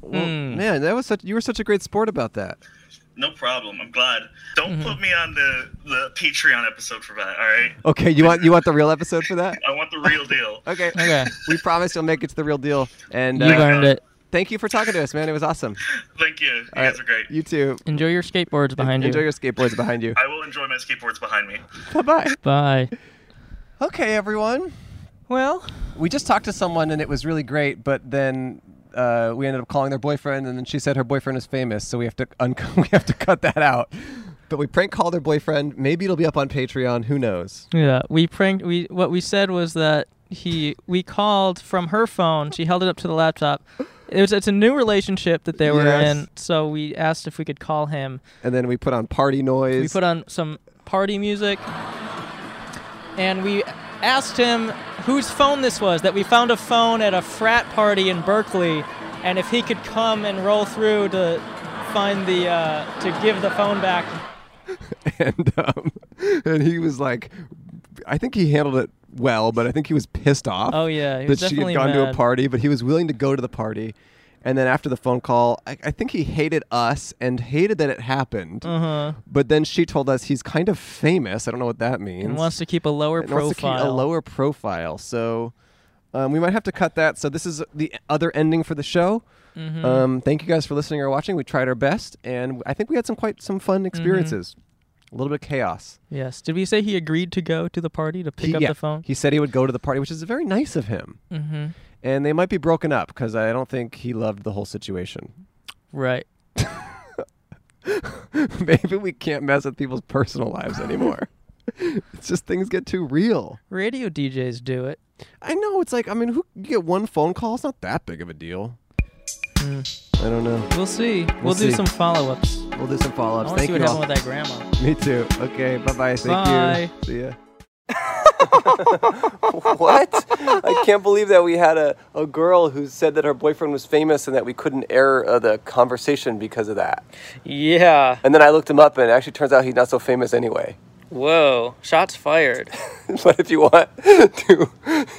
S4: Well, Man, that was such. You were such a great sport about that.
S15: No problem. I'm glad. Don't
S4: Mm-hmm.
S15: put me on the, the Patreon episode for that, all right?
S4: Okay, you want you want the real episode for that?
S15: I want the
S4: <laughs>
S15: real deal.
S4: Okay. we promise you'll make it to the real deal. And uh,
S2: You learned it.
S4: Thank you for talking to us, man. It was awesome.
S15: Thank you. You
S4: All
S15: guys
S4: right,
S15: are great.
S4: You too.
S2: Enjoy your skateboards behind you.
S4: Enjoy your skateboards behind <laughs> you.
S15: I will enjoy my skateboards behind me.
S4: Bye bye.
S2: Bye.
S4: Okay, everyone.
S2: Well,
S4: we just talked to someone and it was really great, but then uh, we ended up calling their boyfriend, and then she said her boyfriend is famous, so we have to un- <laughs> we have to cut that out. But we prank called her boyfriend. Maybe it'll be up on Patreon. Who knows?
S2: Yeah, we pranked. We what we said was that he we called from her phone. She held it up to the laptop. It was it's a new relationship that they were
S4: Yes.
S2: in, so we asked if we could call him.
S4: And then we put on party noise.
S2: We put on some party music, and we asked him whose phone this was. That we found a phone at a frat party in Berkeley, and if he could come and roll through to find the uh, to give the phone back.
S4: and um, and he was like, I think he handled it well, but I think he was pissed off.
S2: Oh, yeah, he
S4: that
S2: was
S4: she had
S2: definitely
S4: gone to a
S2: mad.
S4: party, but he was willing to go to the party. And then after the phone call, I, I think he hated us and hated that it happened.
S2: Uh-huh.
S4: But then she told us he's kind of famous. I don't know what that means.
S2: And wants to keep a lower
S4: And wants to keep a
S2: profile.
S4: lower profile. So um, we might have to cut that. So this is the other ending for the show.
S2: Mhm.
S4: Um, thank you guys for listening or watching. We tried our best, and I think we had some quite some
S2: Mm-hmm.
S4: fun experiences. A little bit of chaos.
S2: Yes. Did we say he agreed to go to the party to pick
S4: He-
S2: up
S4: yeah,
S2: the phone?
S4: He said he would go to the party, which is very nice of him.
S2: Mhm.
S4: And they might be broken up because I don't think he loved the whole situation. <laughs>
S2: Right.
S4: Maybe we can't mess with people's personal lives
S2: <laughs>
S4: anymore. <laughs> it's just things get too real.
S2: Radio DJs do it.
S4: I know. It's like I mean, who you get one phone call? It's not that big of a deal.
S2: Hmm.
S4: I don't know.
S2: We'll see. We'll, do
S4: see.
S2: some follow ups.
S4: We'll do some follow
S2: I
S4: ups.
S2: wanna
S4: Thank
S2: see what
S4: you all.
S2: happened with that grandma.
S4: Me too. Okay. Bye bye. Thank
S2: Bye.
S4: you. See ya.
S16: <laughs> what? I can't believe that we had a, a girl who said that her boyfriend was famous and that we couldn't air uh, the conversation because of that.
S2: Yeah.
S16: And then I looked him up, and it actually turns out he's not so famous anyway.
S2: Whoa. Shots fired.
S16: <laughs> but if you want <laughs> to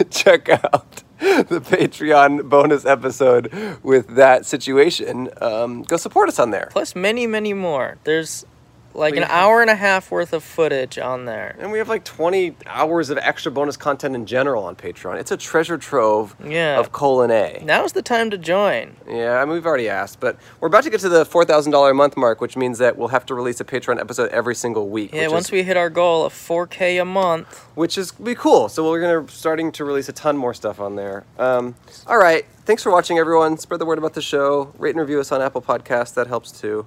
S16: check out the Patreon bonus episode with that situation, um, go support us on there.
S2: Plus many, many more. There's like
S16: an
S2: an hour and a half worth of footage on there.
S16: And we have like 20 hours of extra bonus content in general on Patreon. It's a treasure trove
S2: Yeah.
S16: of colon A.
S2: Now's the time to join.
S16: Yeah, I mean, we've already asked, but we're about to get to the $4,000 a month mark, which means that we'll have to release a Patreon episode every single week.
S2: Yeah,
S16: which
S2: once
S16: is,
S2: we hit our goal of 4K a month.
S16: Which is be cool. So we're gonna starting to release a ton more stuff on there. Um, all right, thanks for watching, everyone. Spread the word about the show. Rate and review us on Apple Podcasts. That helps too.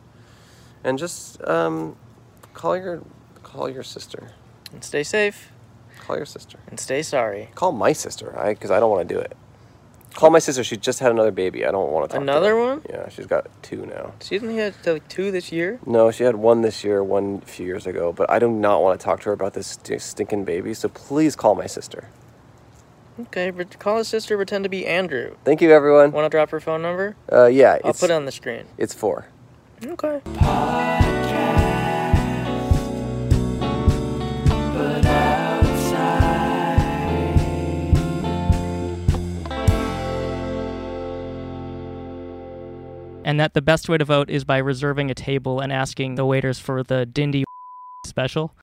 S16: And just um, call your call your sister.
S2: And stay safe.
S16: Call your sister.
S2: And stay sorry.
S16: Call my sister, all right? Because I don't want to do it. Call my sister. She just had another baby. I don't want to talk.
S2: Another
S16: to her.
S2: one?
S16: Yeah, she's got two now.
S2: She didn't have like two this year.
S16: No, she had one this year, one a few years ago, but I do not want to talk to her about this st- stinking baby, so please call my sister.
S2: Okay, but call his sister, pretend to be Andrew.
S16: Thank you, everyone.
S2: Want to drop her phone number?
S16: Uh, yeah,
S2: I'll
S16: it's,
S2: put it on the screen.
S16: it's four.
S2: Okay. And that the best way to vote is by reserving a table and asking the waiters for the Dindy <laughs> special.